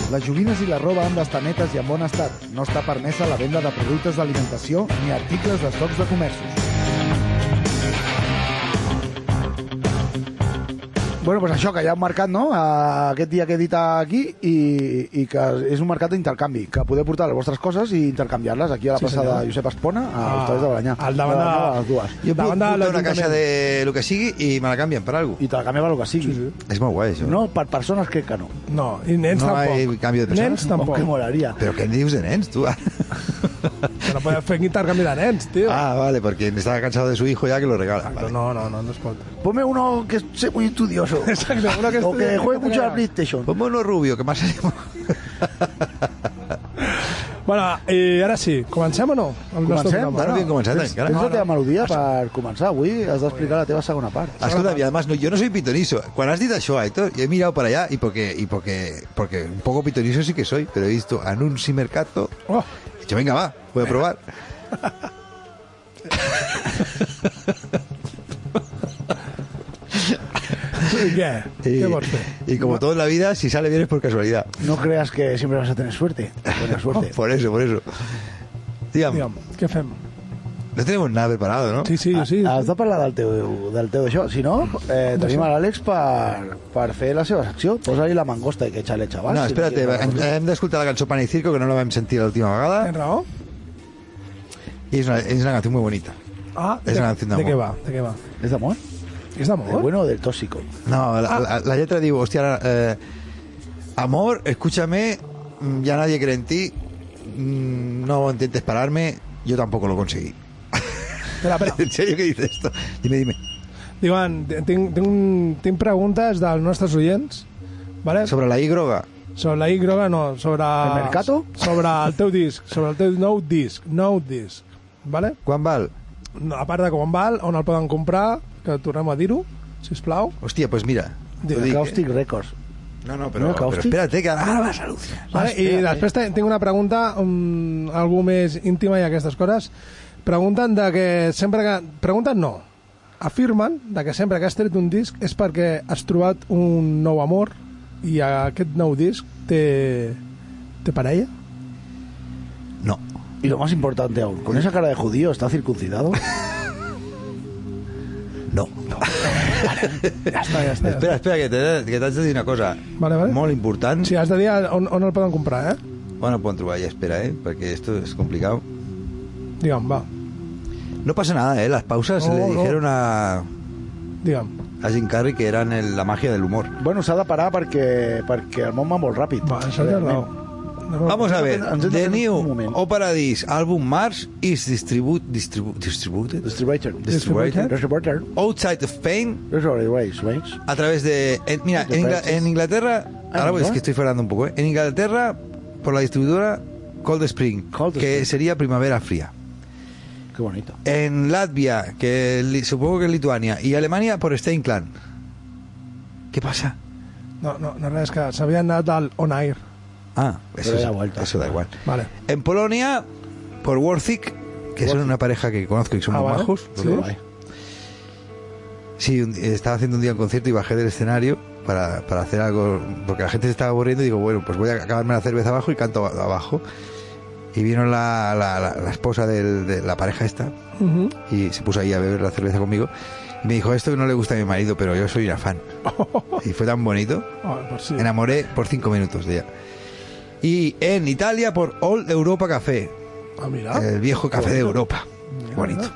Speaker 8: Les joguines i la roba han d'estar netes i en bon estat. No està permesa la venda de productes d'alimentació ni articles d'estocs de comerços.
Speaker 3: Bueno, pues això, que hi ha un mercat, no?, Eh, aquest dia que he dit aquí, i, i que és un mercat d'intercanvi, que podeu portar les vostres coses i intercanviar-les aquí a la
Speaker 4: Sí,
Speaker 3: plaça
Speaker 4: senyor.
Speaker 3: de Josep Espona, a
Speaker 4: Ah,
Speaker 3: ah, Hostales de Balanyà.
Speaker 4: al davant de-
Speaker 3: nou a les dues.
Speaker 5: Yo
Speaker 4: La
Speaker 5: puedo
Speaker 4: banda de
Speaker 5: juntar una
Speaker 4: ayuntamiento.
Speaker 5: caja de lo que sigue y me la cambian para algo.
Speaker 3: I te la canviem el que sigui. Sí,
Speaker 5: Es más guay eso.
Speaker 3: No, per persones crec que no.
Speaker 4: No, i nens
Speaker 5: No
Speaker 4: tampoc.
Speaker 5: hay cambio de personas.
Speaker 4: Nens
Speaker 3: Oh,
Speaker 4: tampoc.
Speaker 3: que molaria.
Speaker 5: Pero qué news de Nens, tú.
Speaker 4: Que no podem fer intercanvi de nens, tio.
Speaker 5: ah, vale, porque estaba cansado de su hijo ya que lo regala.
Speaker 4: Exacte,
Speaker 5: Vale.
Speaker 4: no, no, no, no es pot.
Speaker 3: Ponme uno que sea muy estudioso.
Speaker 4: Exacte, uno que
Speaker 3: o que
Speaker 4: estudie-
Speaker 3: juegue
Speaker 4: que
Speaker 3: mucho a la
Speaker 4: tenga-
Speaker 3: PlayStation.
Speaker 5: Ponme uno Pues rubio, que más salimos.
Speaker 4: Bueno, i ara sí, comencem o no? El nostre
Speaker 3: Comencem?
Speaker 4: programa?
Speaker 5: Ara bien començat,
Speaker 3: Tens,
Speaker 5: encara.
Speaker 3: tens la teva melodia per començar avui, has d'explicar la teva segona part.
Speaker 5: Escúchame, Ah, además, no, yo no soy pitonizo. Cuando has dicho eso, Héctor, yo he mirado para allá y porque, y porque, porque un poco pitonizo sí que soy, pero he visto Anunci Mercato.
Speaker 4: Oh,
Speaker 5: He dicho, venga, va, voy a probar.
Speaker 4: i què?
Speaker 5: Eh, Y,
Speaker 4: Qué morte.
Speaker 5: y como todo en la vida, si sale bien es por casualidad.
Speaker 3: No creas que siempre vas a tener suerte. Buena suerte.
Speaker 5: Por eso, por eso. Digue'm,
Speaker 4: Digue'm, què fem?
Speaker 5: no tenemos nada preparado, ¿no?
Speaker 4: Sí, sí, jo sí.
Speaker 3: Ah, Has de parlar del teu, del teu això. Si no, eh, tenim a l'Àlex per, per fer la seva secció. Posa-li la mangosta i que xale, xaval.
Speaker 5: No,
Speaker 3: si
Speaker 5: espérate, eh.
Speaker 3: quieres-
Speaker 5: hem, hem d'escoltar la cançó Pan i Circo, que no la vam sentir l'última
Speaker 4: Tens
Speaker 5: vegada,
Speaker 4: raó?
Speaker 5: i és una, és una canció molt bonita.
Speaker 4: Ah,
Speaker 5: És
Speaker 4: de,
Speaker 5: una canción de
Speaker 4: de què va?
Speaker 5: amor.
Speaker 4: De què va?
Speaker 3: ¿Es de amor?
Speaker 4: És
Speaker 3: ¿De
Speaker 4: d'amor?
Speaker 3: Eh, bueno o del tóxico?
Speaker 5: No,
Speaker 4: Ah.
Speaker 5: la, la- la letra digo, hostia, ahora, eh, amor, escúchame, mm, ya nadie cree en ti, mm, no intentes pararme, yo tampoco lo conseguí.
Speaker 4: Espera, espera.
Speaker 5: ¿En serio qué dice esto? Dime, dime.
Speaker 4: Diuen, tinc, tinc, un- tinc preguntes dels nostres oients, vale? sobre,
Speaker 5: Sobre la hígroga.
Speaker 4: sobre la Y, no, sobre...
Speaker 3: El Mercato?
Speaker 4: Sobre el teu disc, sobre el teu nou disc, nou disc, vale?
Speaker 5: Juan Val,
Speaker 4: No, A part de com val, on el poden comprar, que tornem a dir-ho, si us plau.
Speaker 5: hostia, pues mira.
Speaker 4: De
Speaker 5: lo dije.
Speaker 3: Caustic Records.
Speaker 5: No, no,
Speaker 3: ¿No
Speaker 5: pero,
Speaker 3: era Caustic?
Speaker 5: pero espérate, que ahora vas a alucinar.
Speaker 4: Vale? I després te- tinc una pregunta, um, algú més íntima i aquestes coses. Pregunten de que sempre que... Pregunten no. Afirmen de que sempre que has tret un disc és perquè has trobat un nou amor i aquest nou disc té, té parella.
Speaker 5: No.
Speaker 3: Y lo más importante aún, con esa cara de judío, ¿está circuncidado?
Speaker 5: No.
Speaker 4: Ja està, ja està.
Speaker 5: espera, espera, que te- que t'haig de dir una cosa
Speaker 4: Vale, vale.
Speaker 5: molt important.
Speaker 4: Sí, has de dir on, on el poden comprar, eh?
Speaker 5: Bueno, pon trobar, ja, espera, eh, perquè esto es complicado.
Speaker 4: Digue'm, va,
Speaker 5: No pasa nada, ¿eh? Las pausas
Speaker 4: No,
Speaker 5: le
Speaker 4: no.
Speaker 5: dijeron a,
Speaker 4: digue'm.
Speaker 5: a Jim Carrey que eran el- la magia del humor.
Speaker 3: bueno, s'ha de parar perquè, perquè el món va molt ràpid.
Speaker 4: Va, això té raó. No,
Speaker 5: Vamos a ver,
Speaker 3: Antes de-
Speaker 5: The
Speaker 3: antes de- un
Speaker 5: New
Speaker 3: moment.
Speaker 5: O Paradise Album Mars is distribu distribu distributed
Speaker 3: Distributor.
Speaker 5: Distributed.
Speaker 3: Distributor.
Speaker 5: outside of Spain
Speaker 3: Distributor.
Speaker 5: a través de... en- mira, en, Ingla- en Inglaterra...
Speaker 3: Ah,
Speaker 5: Ahora
Speaker 3: ¿no?
Speaker 5: es que estoy falando un poco, ¿eh? En Inglaterra, por la distribuidora Cold Spring,
Speaker 3: Cold
Speaker 5: que
Speaker 3: Spring.
Speaker 5: sería Primavera Fría.
Speaker 3: Qué bonito.
Speaker 5: En Latvia, que li- supongo que es Lituania, y Alemania por Stein Clan. ¿Qué pasa?
Speaker 4: no, no, no res, que s'havia anat al On Air.
Speaker 5: Ah, eso,
Speaker 3: Pero
Speaker 5: es-
Speaker 3: da vuelta.
Speaker 5: eso da igual.
Speaker 4: Vale.
Speaker 5: En Polonia, por Warthick, que son una pareja que conozco y que son
Speaker 4: Ah,
Speaker 5: muy
Speaker 4: vale.
Speaker 5: majos.
Speaker 4: Sí.
Speaker 5: Sí, un- estaba haciendo un día un concierto y bajé del escenario para, para hacer algo, porque la gente se estaba aburriendo y digo, bueno, pues voy a acabarme la cerveza abajo y canto a- abajo. Y vino la, la- la- la esposa del- de la pareja esta
Speaker 4: Uh
Speaker 5: y se puso ahí a beber la cerveza conmigo. Y me dijo, esto no le gusta a mi marido, pero yo soy una fan. Y fue tan bonito.
Speaker 4: oh, pues sí.
Speaker 5: Me enamoré por cinco minutos de ella. Y en Italia por All Europa Café,
Speaker 4: Ah, mira.
Speaker 5: el viejo café de
Speaker 4: bonito.
Speaker 5: Europa.
Speaker 4: Mira,
Speaker 5: Bonito.
Speaker 4: mira.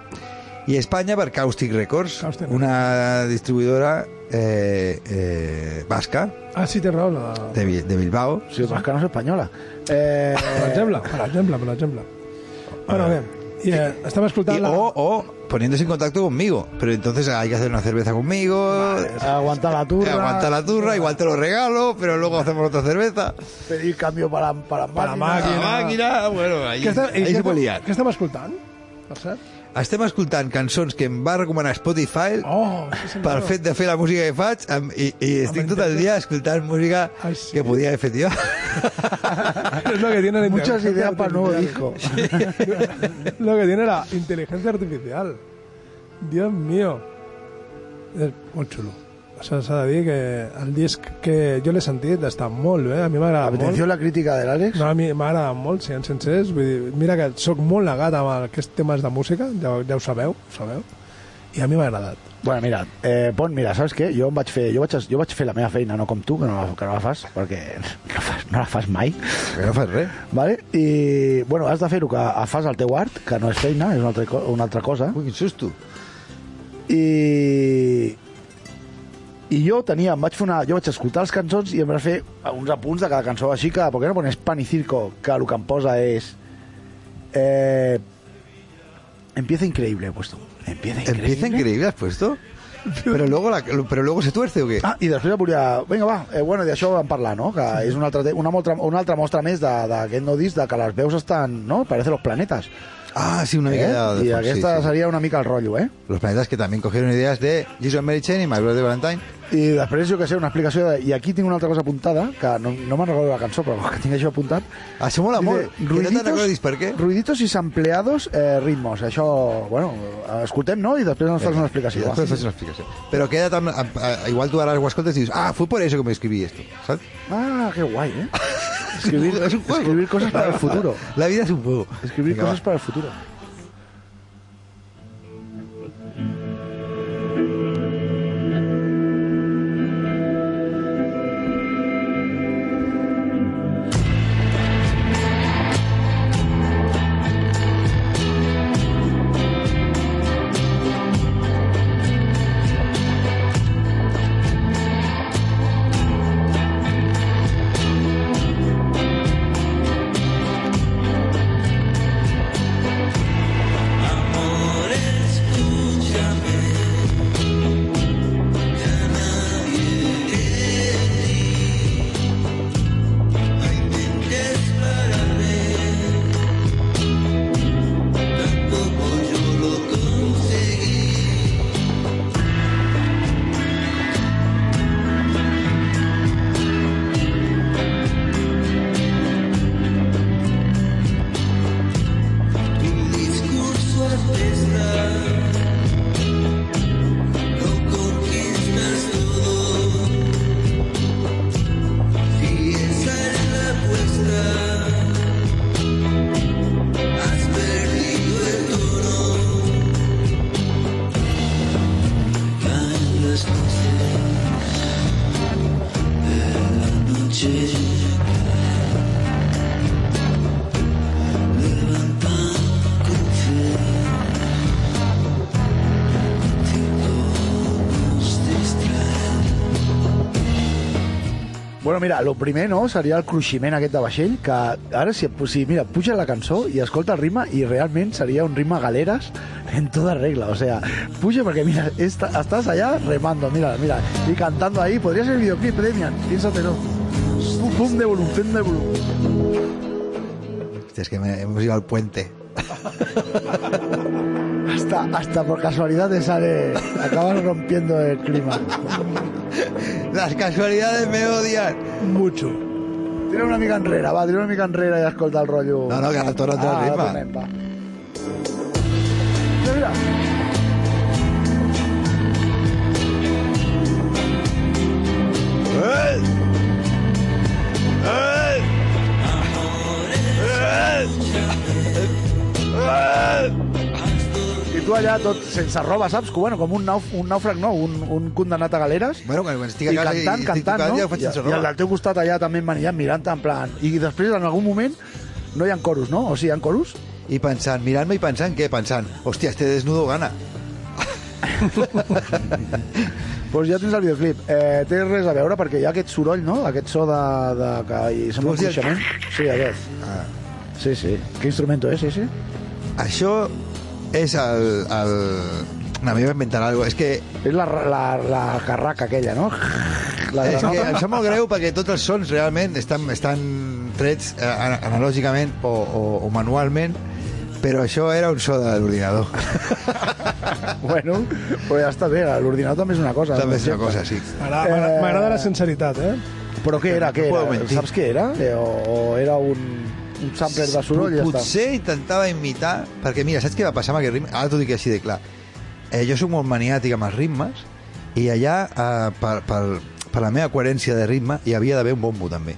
Speaker 5: Y España por Caustic Records,
Speaker 4: Caustic
Speaker 5: una distribuidora eh, eh, vasca
Speaker 4: Ah, sí, té raó. La...
Speaker 5: de, Bi- de Bilbao.
Speaker 3: Si vas que no és espanyola. Eh,
Speaker 4: Per exemple, per exemple, per exemple. Bueno, bé, i, eh, estem
Speaker 5: Y,
Speaker 4: escoltant la...
Speaker 3: oh,
Speaker 5: o, o poniéndose en contacto conmigo. Pero entonces hay que hacer una cerveza conmigo.
Speaker 3: aguantar la
Speaker 5: eh,
Speaker 3: turra.
Speaker 5: Aguanta la turra, igual te lo regalo, pero luego hacemos otra cerveza.
Speaker 3: Pedir cambio para, para,
Speaker 4: Para
Speaker 5: La
Speaker 4: màquina.
Speaker 5: máquina, bueno, ahí,
Speaker 4: Què estem, i
Speaker 5: ahí
Speaker 4: què
Speaker 5: se
Speaker 4: estem-
Speaker 5: puede liar.
Speaker 4: Què estem escoltant? Per cert?
Speaker 5: Estem escoltant cançons que em va recomanar Spotify
Speaker 4: Oh, sí, senyor.
Speaker 5: pel fet de fer la música que faig amb, i, i estic tot el dia escoltant música
Speaker 4: Ah, sí.
Speaker 5: que podia haver fet jo.
Speaker 4: És lo que tiene la
Speaker 3: Ah, Muchas
Speaker 4: inteligencia
Speaker 3: ideas para el nuevo
Speaker 4: artificial.
Speaker 3: disco.
Speaker 4: Lo que tiene la inteligencia artificial. Dios mío. És molt xulo. Això s'ha de dir que el disc que jo l'he sentit està molt bé, a mi m'agrada molt.
Speaker 3: Atención la crítica del Àlex.
Speaker 4: No, a mi m'agrada molt, si en sencers. Vull dir, mira que sóc molt legat amb aquests temes de música, ja, ja ho sabeu, ho sabeu. I a mi m'ha agradat.
Speaker 3: Bueno, mira, eh, Pon, mira, saps què? Jo, em vaig fer, jo, vaig, jo vaig fer la meva feina, no com tu, que no, la- que no la fas, perquè no, fas, no la fas mai.
Speaker 5: Que no fas res.
Speaker 3: Vale? I, bueno, has de fer-ho que fas el teu art, que no és feina, és una altra, co- una altra cosa.
Speaker 5: Ui, quin susto.
Speaker 3: I... I jo tenia, em vaig fer una... Jo vaig escoltar les cançons i em vaig fer uns apunts de cada cançó, així que, perquè no pones pan i circo, que el que em posa és... Eh, empieza increíble, he puesto. Empieza increíble.
Speaker 5: Empieza increïble, has puesto? Però luego, la, però luego se tuerce o què?
Speaker 3: Ah, i després volia... Vinga, va, eh, bueno, d'això vam parlar, no? Que és una altra, te- una, moltra, una altra mostra més de- d'aquest no disc, de que les veus estan, no? Parece los planetas.
Speaker 5: Ah, sí, una mica
Speaker 3: Eh?
Speaker 5: allà de
Speaker 3: I
Speaker 5: fons,
Speaker 3: aquesta
Speaker 5: sí, sí.
Speaker 3: seria una mica el rotllo, eh?
Speaker 5: Los planetas que también cogieron ideas de Jason Mary Chain y My Brother Valentine.
Speaker 3: I després, jo que sé, una explicació de... I aquí tinc una altra cosa apuntada, que no, no me'n recordo la cançó, però que tinc això apuntat.
Speaker 5: Això mola molt.
Speaker 3: Dice,
Speaker 5: Que no te'n
Speaker 3: Ruiditos,
Speaker 5: recordis per què?
Speaker 3: ruiditos i sampleados eh, ritmos. Això, bueno, escoltem, no? I després ens fas
Speaker 5: Y
Speaker 3: una explicació. Ah,
Speaker 5: después haces una explicación. Pero queda tan... a- a- igual tú harás guascotes y dices, ah, fue por eso que me escribí esto, ¿sabes?
Speaker 3: Ah, qué guay, ¿eh? Escribir,
Speaker 5: Es un juego.
Speaker 3: escribir cosas para el futuro.
Speaker 5: La vida es un juego.
Speaker 3: Escribir
Speaker 5: Venga,
Speaker 3: cosas
Speaker 5: va.
Speaker 3: para el futuro. Bueno, mira, lo primer, no?, seria el cruiximent aquest de vaixell, que ara, si, si mira, puja la cançó i escolta el ritme, i realment seria un ritme galeres en toda regla, o sea, puja perquè, mira, esta, estàs allà remando, mira, mira, i cantando ahí, podria ser videoclip, Demian, piénsatelo. Pum, pum, de volum, pum, de volum.
Speaker 5: Hostia, es que me- hemos ido al puente.
Speaker 3: Hasta, hasta por casualidad te sale, acabas rompiendo el clima.
Speaker 5: Las casualidades me odian.
Speaker 3: Mucho. Tira una mica enrere, va, tira una mica enrere i escolta el rotllo.
Speaker 5: No, no, que ara torna otra
Speaker 3: Ah,
Speaker 5: ritme.
Speaker 3: ara tornem, va. Mira, mira. I tu allà tot sense roba, saps? Que, bueno, com un, nauf, un nàufrag, no? Un, un condenat a galeres.
Speaker 5: Bueno, quan, quan estic a
Speaker 3: I
Speaker 5: casa
Speaker 3: cantant,
Speaker 5: i, estic
Speaker 3: cantant,
Speaker 5: tocant,
Speaker 3: no?
Speaker 5: ja ho faig
Speaker 3: I,
Speaker 5: sense
Speaker 3: I
Speaker 5: roba.
Speaker 3: el del teu costat allà també manillant, mirant en plan... I després, en algun moment, no hi ha coros, no? O sigui, hi ha coros?
Speaker 5: Y pensant, mirant-me i pensant, què? Pensant, hostia, este desnudo gana.
Speaker 3: Doncs pues ja tens el videoclip. Eh, té res a veure perquè hi ha aquest soroll, no? Aquest so de... de que hi sembla un
Speaker 5: Vols dir el-
Speaker 3: creixement. Sí, aquest. Ah. Sí, sí. Què instrumento és, sí, sí?
Speaker 5: Això és el... el... No, a mi m'inventarà alguna cosa. És que
Speaker 3: És la, la, la carraca aquella, no? La de
Speaker 5: És
Speaker 3: la
Speaker 5: que em
Speaker 3: nota.
Speaker 5: sap molt greu perquè tots els sons realment estan, estan trets eh, ana- analògicament o, o, o manualment, però això era un so de l'ordinador.
Speaker 3: Bueno, però ja està bé. L'ordinador també és una cosa.
Speaker 5: També és una
Speaker 3: sempre.
Speaker 5: cosa, sí.
Speaker 4: M'agrada- M'agrada m'agrada la sinceritat, eh?
Speaker 3: Però què era? Què
Speaker 5: No puedo
Speaker 3: era?
Speaker 5: mentir.
Speaker 3: Saps què era? Eh, O, o era un, un sampler de soroll i ja està.
Speaker 5: Potser intentava imitar, perquè mira, saps què va passar amb aquest ritme? Ara t'ho dic així de clar. Eh, jo sóc molt maniàtic amb els ritmes i allà, eh, per, per, per la meva coherència de ritme, hi havia d'haver un bombo també.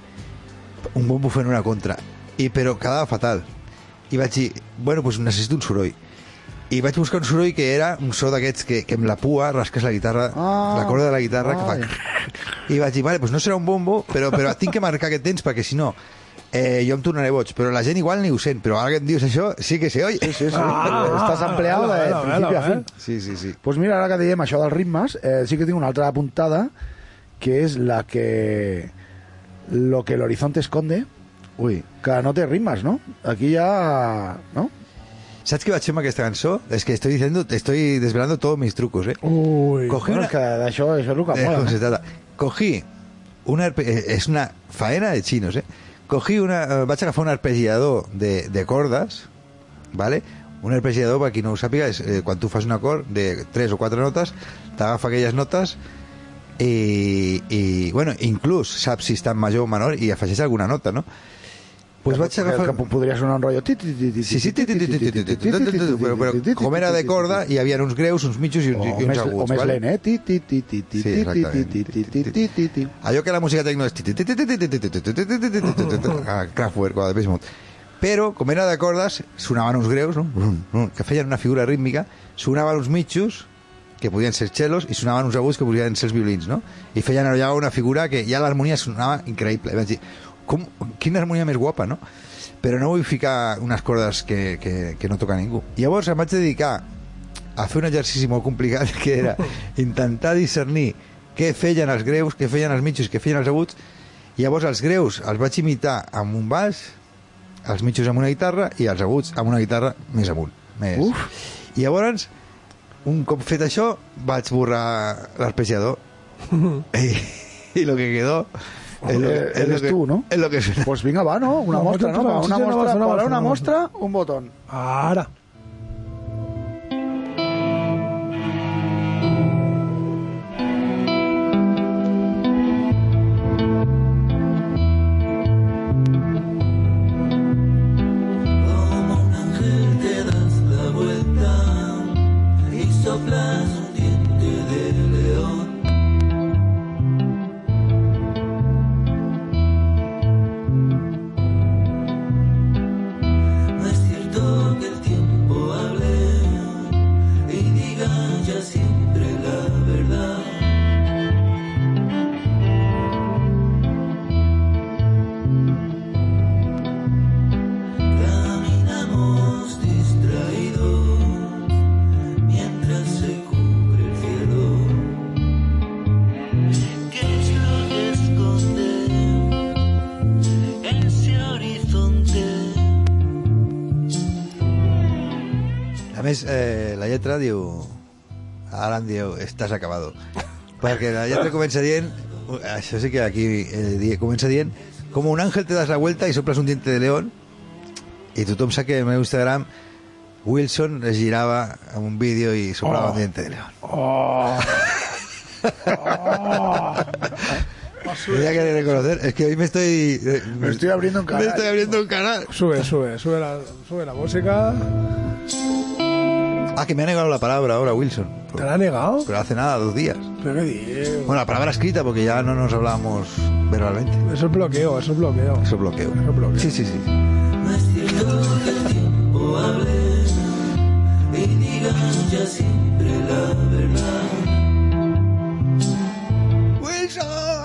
Speaker 5: Un bombo fent una contra. I, però quedava fatal. I vaig dir, bueno, doncs necessito un soroll. I vaig buscar un soroll que era un so d'aquests que, que amb la pua rasques la guitarra,
Speaker 3: Ah.
Speaker 5: la corda de la guitarra,
Speaker 3: Ai.
Speaker 5: que fa... I vaig dir, vale, doncs no serà un bombo, però, però tinc que marcar aquest temps, perquè si no, eh, jo em tornaré boig. Però la gent igual ni ho sent, però ara que em dius això, sí que se oye. Ah.
Speaker 3: Sí, sí. Estàs ampliado de
Speaker 4: vela, vela,
Speaker 3: principi a
Speaker 4: eh?
Speaker 3: fi.
Speaker 5: Sí, sí, sí.
Speaker 3: Doncs pues mira, ara que dèiem això dels ritmes, eh, sí que tinc una altra apuntada, que és la que... Lo que el horizonte esconde,
Speaker 5: Ui.
Speaker 3: que no té ritmes, no? Aquí ja... No?
Speaker 5: Saps què vaig fer amb aquesta cançó? És que estoy diciendo, te estoy desvelando todos mis trucos, eh?
Speaker 4: Ui.
Speaker 5: Cogí
Speaker 3: Bueno,
Speaker 5: una...
Speaker 3: és que d'això això és el que
Speaker 5: Eh,
Speaker 3: mola.
Speaker 5: ¿cómo se
Speaker 3: Eh?
Speaker 5: trata? Cogí una... arpe- eh, Es una faena de chinos, eh? Cogí una... eh, Vaig agafar un arpegiador de, de cordes, ¿vale? Un arpejador, per qui no ho sàpiga, és eh, quan tu fas un acord de tres o quatre notes, t'agafa aquelles notes i, i, bueno, inclús saps si està en major o menor i afegeix alguna nota, no? Pues vaig agafar...
Speaker 3: Que podria sonar un rotllo...
Speaker 5: Sí, sí, ti, ti, ti, ti, ti, ti, ti, ti, ti, ti, però, però com era de corda, hi havia uns greus, uns mitjos i uns,
Speaker 3: O
Speaker 5: i uns
Speaker 3: més,
Speaker 5: aguts.
Speaker 3: o més
Speaker 5: val?
Speaker 3: lent, eh? Ti, ti, ti, ti,
Speaker 5: Sí,
Speaker 3: ti, ti, ti,
Speaker 5: exactament.
Speaker 3: ti, ti, ti, ti, ti, ti.
Speaker 5: Allò que la música tecno és... ti, ti, ti, ti, ti, ti, ti, ti, ti, ti, ti, ti, ti, ti, ti, ti, ti, ah, Kraftwerk o de Bismuth. Però, com era de cordes, sonaven uns greus, no? Brum, brum, que feien una figura rítmica, sonaven uns mitjos, que podien ser xelos, i sonaven uns aguts que podien ser els violins, no? I feien allà una figura que ja l'harmonia sonava increïble. I Vaig dir, com, quina harmonia més guapa, no? Però no vull ficar unes cordes que, que, que no toca ningú. Llavors em vaig dedicar a fer un exercici molt complicat que era intentar discernir què feien els greus, què feien els mitjos, què feien els aguts. Llavors els greus els vaig imitar amb un baix, els mitjos amb una guitarra i els aguts amb una guitarra més amunt. Més.
Speaker 3: Uf.
Speaker 5: I llavors, un cop fet això, vaig borrar l'arpejador i, i lo que quedó es lo-
Speaker 3: Eh,
Speaker 5: es lo
Speaker 3: eres
Speaker 5: que-
Speaker 3: tu, ¿no?
Speaker 5: Es lo que suena.
Speaker 3: Pues vinga, va, no? Una
Speaker 4: Vamos,
Speaker 3: mostra, no?
Speaker 4: otra,
Speaker 3: Va,
Speaker 4: sí,
Speaker 3: Una
Speaker 4: sí, una
Speaker 3: mostra,
Speaker 4: mostra, una
Speaker 3: para una
Speaker 4: mostra.
Speaker 3: mostra, un botón.
Speaker 4: Ara.
Speaker 9: No es cierto que el tiempo hable y diga ya siempre la verdad. Caminamos distraídos mientras se cubre el cielo. ¿Qué es lo que esconde ese horizonte?
Speaker 5: A més, eh, la lletra diu... Ara em diu, estàs acabado. Perquè la lletra comença dient... Això sí que aquí eh, di- comença dient... Com un àngel te das la vuelta i soples un diente de león i tothom sap que en el meu Instagram Wilson es girava amb un vídeo i soplava oh. un diente de león. Oh. Tenía que reconocer, es que hoy me estoy... eh,
Speaker 3: Me estoy abriendo un canal.
Speaker 5: Me estoy abriendo un canal.
Speaker 4: Sube, sube, sube la, sube la música.
Speaker 5: Ah, que me ha negado la palabra ahora, Wilson.
Speaker 4: ¿Te la ha negado?
Speaker 5: Pero hace nada, dos días.
Speaker 4: ¿Pero qué dices?
Speaker 5: Bueno, la palabra escrita, porque ya no nos hablábamos verbalmente.
Speaker 4: Eso es bloqueo, eso es bloqueo.
Speaker 5: Eso es bloqueo.
Speaker 4: Eso es bloqueo.
Speaker 5: Sí, sí, sí.
Speaker 9: No es cierto que el tiempo hable y diga ya siempre la verdad.
Speaker 5: ¡Wilson!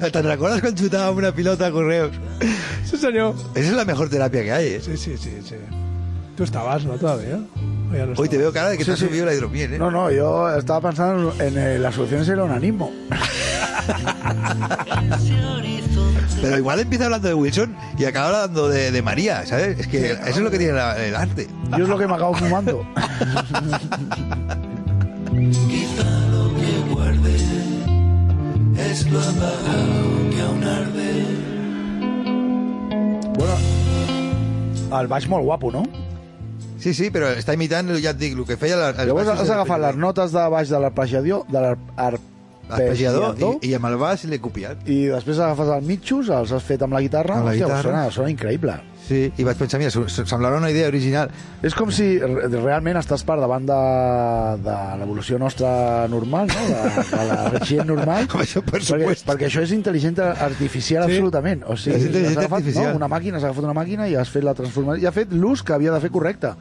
Speaker 5: ¿Te recuerdas cuando chutábamos una pilota a correos?
Speaker 4: Sí, señor.
Speaker 5: Esa es la mejor terapia que hay, ¿eh?
Speaker 4: Sí, sí, sí, sí. Tú estabas, ¿no? Todavía. O ya no
Speaker 5: Hoy te
Speaker 4: estabas.
Speaker 5: veo cara de que te has subido la hidromiel, ¿eh?
Speaker 3: No, no, yo estaba pensando en eh, la solución es el onanismo.
Speaker 5: Pero igual empieza hablando de Wilson y acaba hablando de, de María, ¿sabes? Es que eso es lo que tiene la- el arte.
Speaker 3: Yo es lo que me acabo fumando.
Speaker 9: Quizá lo que guarde es lo apagado que aún arde.
Speaker 3: bueno, el baix molt guapo, no?
Speaker 5: Sí, sí, pero está imitando, ya te digo, lo que falla... La, el
Speaker 3: Llavors
Speaker 5: baix
Speaker 3: has
Speaker 5: és el
Speaker 3: agafat les
Speaker 5: arpejador.
Speaker 3: notes de baix de l'arpejador, de l'arpejador,
Speaker 5: Arpejador y, y a Malvás le cupiat.
Speaker 3: i després agafes els mitjos, els has fet amb la guitarra,
Speaker 5: Amb la
Speaker 3: hòstia,
Speaker 5: guitarra.
Speaker 3: Sona, sona increïble.
Speaker 5: Sí, i vaig pensar, mira, so- so- semblarà una idea original.
Speaker 3: És com si re- realment estàs per davant de, de l'evolució nostra normal, no? de, de la gent normal.
Speaker 5: Home, això per
Speaker 3: perquè,
Speaker 5: supuesto.
Speaker 3: perquè això és intel·ligència artificial
Speaker 4: Sí.
Speaker 3: absolutament. O sigui,
Speaker 5: És intel·ligència
Speaker 3: has agafat,
Speaker 5: artificial.
Speaker 3: No, una màquina, has agafat una màquina i has fet la transformació. I ha fet l'ús que havia de fer correcte.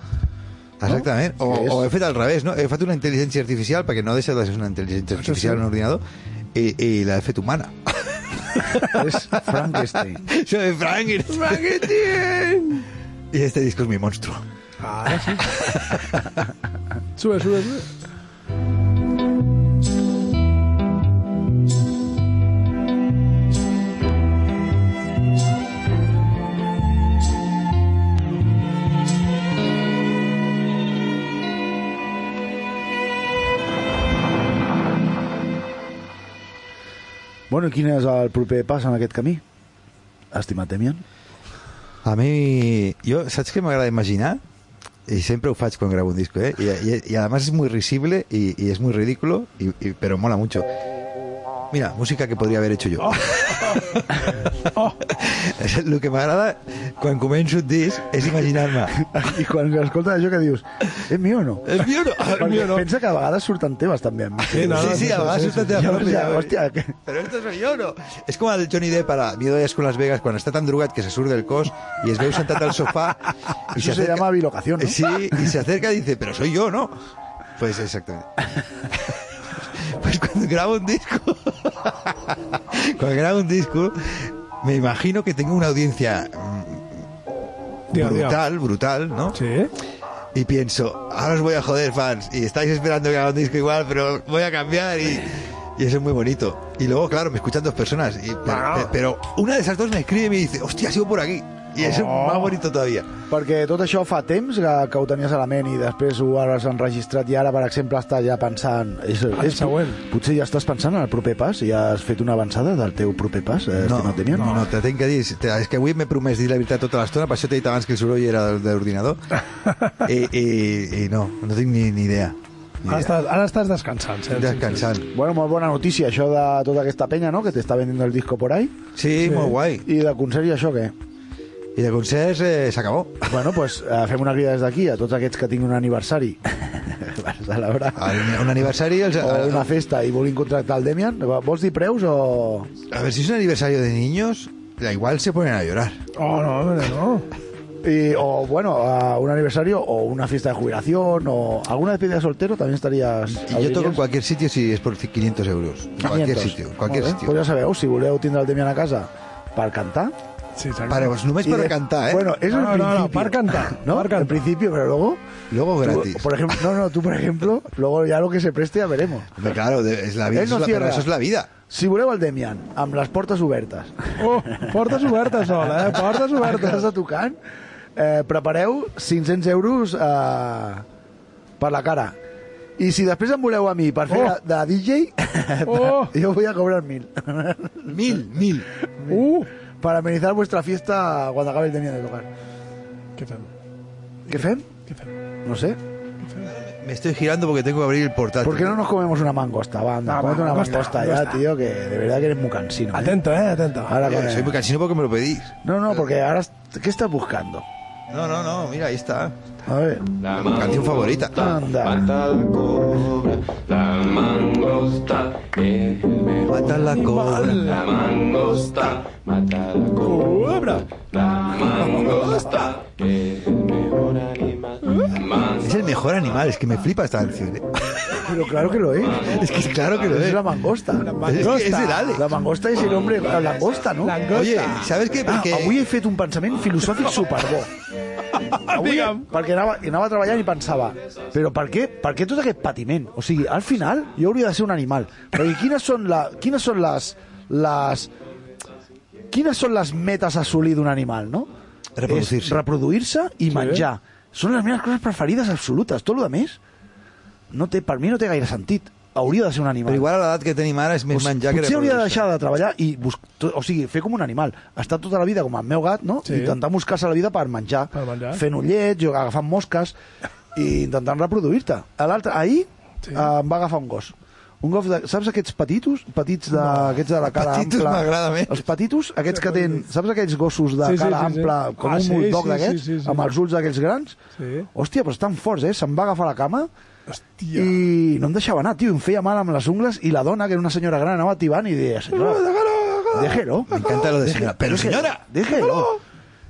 Speaker 5: Exactament, o,
Speaker 3: Que és-
Speaker 5: o he fet al revés, no? He fet una intel·ligència artificial, perquè no deixa de ser una intel·ligència artificial en un ordinador, i, i l'he fet humana.
Speaker 3: és Frankenstein.
Speaker 5: Soy Frankenstein. Frankenstein! I este disco es mi monstruo.
Speaker 4: Ahora sí. sube, sube, sube.
Speaker 3: Bueno, i quin és el proper pas en aquest camí? Estimat Demian.
Speaker 5: A mi... Jo, saps què m'agrada imaginar? I sempre ho faig quan gravo un disco, eh? I, i, i además es muy risible y, y es muy ridículo, y, y- pero mola mucho. Mira, música que podría haber hecho yo. Oh. És el que m'agrada quan començo un disc és imaginar-me.
Speaker 3: I quan escoltes això que dius, és mi o no?
Speaker 5: És mi o no? És mi
Speaker 3: Perquè
Speaker 5: o no?
Speaker 3: pensa que a vegades surten temes també amb mi.
Speaker 4: no,
Speaker 5: Sí, sí, a vegades surten temes
Speaker 3: Llavors
Speaker 5: propis,
Speaker 3: ja,
Speaker 5: ja,
Speaker 3: hòstia, que...
Speaker 5: Pero esto soy yo, ¿no? És com ¿eh? el Johnny Depp a la Miedo a con Las Vegas, quan està tan drogat que se surt del cos i es veu sentat al sofà i
Speaker 3: Això se llama bilocación, no?
Speaker 5: Sí, y se acerca y dice, pero soy yo, ¿no? Pues exactamente. Pues cuando grabo un disco, cuando grabo un disco, me imagino que tengo una audiencia mm,
Speaker 4: Tío, tío.
Speaker 5: brutal, brutal, ¿no?
Speaker 4: Sí?
Speaker 5: Y pienso, ahora os voy a joder, fans, y estáis esperando que haga un disco igual, pero voy a cambiar y, y eso es muy bonito. Y luego, claro, me escuchan dos personas, y, pero,
Speaker 4: Wow.
Speaker 5: pero una de esas dos me escribe y me dice, hostia, ha sido por aquí. Y eso
Speaker 3: Oh.
Speaker 5: es más bonito todavía.
Speaker 3: Perquè tot això fa temps que, que ho tenies a la ment i després ho has enregistrat i ara, per exemple, està ja pensant... És, és,
Speaker 4: següent.
Speaker 3: Potser ja estàs pensant en el proper pas i has fet una avançada del teu proper pas, eh, no, estimat Demian.
Speaker 5: no, no, te tenc que dir, te- és que avui m'he promès dir la veritat tota l'estona, per això t'he dit abans que el soroll era de, de l'ordinador, I, i, i no, no tinc ni, ni idea. Ni
Speaker 4: Ara
Speaker 5: idea.
Speaker 4: estàs, ara estàs descansant, Sergi.
Speaker 5: Descansant.
Speaker 3: Bueno, molt bona notícia, això de tota aquesta penya, no?, que t'està vendiendo el disco por ahí.
Speaker 5: Sí, molt guai.
Speaker 3: I de concert i això, què?
Speaker 5: I de concerts eh, s'acabó.
Speaker 3: Bueno, pues eh, fem una crida des d'aquí a tots aquests que tinguin un aniversari per celebrar
Speaker 5: El- Un aniversari... Els,
Speaker 3: o una festa i vulguin contractar el Demian. Vols dir preus o...?
Speaker 5: A ver, si es un aniversario de niños, la igual se ponen a llorar.
Speaker 4: Oh, no, hombre, no.
Speaker 3: Y, o bueno, a un aniversario o una fiesta de jubilación o alguna despedida de soltero también estarías...
Speaker 5: Y yo toco en cualquier sitio si es por 500 euros. En cualquier sitio, en cualquier
Speaker 3: Pues
Speaker 5: sitio.
Speaker 3: ja sabeu, si voleu tindre el Demian a casa per cantar...
Speaker 4: Sí, exacte.
Speaker 5: Para, pues no me es para
Speaker 3: de-
Speaker 5: cantar, ¿eh?
Speaker 3: Bueno, es
Speaker 4: No,
Speaker 3: el
Speaker 4: no, no,
Speaker 3: principio.
Speaker 4: per cantar,
Speaker 3: ¿No?
Speaker 4: per cantar.
Speaker 3: El principio, pero luego...
Speaker 5: Luego
Speaker 3: tú,
Speaker 5: gratis.
Speaker 3: por ejemplo, no, no, tú por ejemplo, luego ya lo que se preste ya veremos.
Speaker 5: Hombre, Claro, de- es la vida,
Speaker 3: Él
Speaker 5: eso,
Speaker 3: no
Speaker 5: es la, pero
Speaker 3: cierra.
Speaker 5: eso es la vida.
Speaker 3: Si voleu el Demian, amb les portes obertes,
Speaker 4: Oh, portes obertes, Sol, eh? Portes
Speaker 3: a
Speaker 4: obertes.
Speaker 3: casa tocant, eh, prepareu 500 euros eh, per la cara. I si després em voleu a mi per fer
Speaker 4: Oh.
Speaker 3: de, de DJ,
Speaker 4: Oh.
Speaker 3: jo vull a cobrar 1.000
Speaker 5: Mil, mil.
Speaker 4: Uh!
Speaker 3: para amenizar vuestra fiesta cuando acabe el Demian de tocar.
Speaker 4: Què fem?
Speaker 3: ¿Qué fem?
Speaker 4: Què fem?
Speaker 3: No sé.
Speaker 5: Me estoy girando porque tengo que abrir el portátil.
Speaker 3: ¿Por qué no nos comemos una mangosta? Va, anda,
Speaker 4: Ah,
Speaker 3: cómete una
Speaker 4: mangosta,
Speaker 3: mangosta ya,
Speaker 4: mangosta.
Speaker 3: tío, que de verdad que eres muy cansino. ¿eh?
Speaker 4: Atento, eh? Atento.
Speaker 3: Ahora que...
Speaker 5: Eh, Soy muy cansino porque me lo pedís.
Speaker 3: No, no, porque ahora... ¿Qué estás buscando?
Speaker 5: No, no, no, mira, ahí está.
Speaker 3: A ver.
Speaker 10: La
Speaker 5: Mi canción favorita.
Speaker 3: Anda.
Speaker 10: Mata la cobra, la mangosta, es el mejor.
Speaker 5: Mata la cola.
Speaker 10: La mangosta, mata la cobra. La mangosta, es el mejor animal. La
Speaker 5: Es el mejor animal, es que me flipa esta canción. ¿eh?
Speaker 3: Pero claro que lo es.
Speaker 5: Es que claro que lo
Speaker 3: Es
Speaker 5: es.
Speaker 3: la mangosta. La
Speaker 5: mangosta. Es- es el Ale.
Speaker 3: La mangosta és el nombre... La langosta, no?
Speaker 5: Oye, ¿sabes qué?
Speaker 3: Ah,
Speaker 5: Porque
Speaker 3: avui he fet un pensament filosòfic superbo. Avui,
Speaker 4: Digue'm.
Speaker 3: perquè anava, anava treballant i pensava, però per què, per què tot aquest patiment? O sigui, al final jo hauria de ser un animal. Perquè quines són, la, quines són les, les... Quines són les metes a assolir d'un animal, no?
Speaker 5: Reproduir-se.
Speaker 3: És Reproduir-se i menjar. Són les meves coses preferides absolutes. Tot el que més no té, per mi no té gaire sentit. Hauria de ser un animal.
Speaker 5: Pero igual a la edad que tenim ara és més
Speaker 3: Pues,
Speaker 5: menjar que
Speaker 3: potser hauria de
Speaker 5: reproduir-se.
Speaker 3: deixar de treballar i bus... to- o sigui, fer com un animal. Estar tota la vida com el meu gat, no?
Speaker 4: Sí.
Speaker 3: Sí. Intentar buscar-se la vida per menjar,
Speaker 4: Per menjar.
Speaker 3: fent ullets, jo- agafant mosques i intentant reproduir-te. A L'altre, ahir
Speaker 4: Sí.
Speaker 3: sí. eh, em va agafar un gos. Un gos de, saps aquests petitos? Petits de, aquests de la cara
Speaker 5: Petitos
Speaker 3: ampla.
Speaker 5: m'agrada més.
Speaker 3: Els petitos, aquests que tenen... Saps aquells gossos de
Speaker 4: Sí, sí,
Speaker 3: cara
Speaker 4: sí, sí.
Speaker 3: ampla, com
Speaker 4: Ah,
Speaker 3: un
Speaker 4: sí,
Speaker 3: bulldog
Speaker 4: sí,
Speaker 3: d'aquests,
Speaker 4: sí, sí, sí.
Speaker 3: amb els ulls d'aquells grans?
Speaker 4: Sí.
Speaker 3: Hòstia, però estan forts, eh? Se'm va agafar la cama
Speaker 4: Hòstia.
Speaker 3: i no em deixava anar, tio, em feia mal amb les ungles i la dona, que era una senyora gran, anava tibant i deia, senyora, déjelo.
Speaker 5: Me encanta lo de señora. Pero señora,
Speaker 3: Déjelo.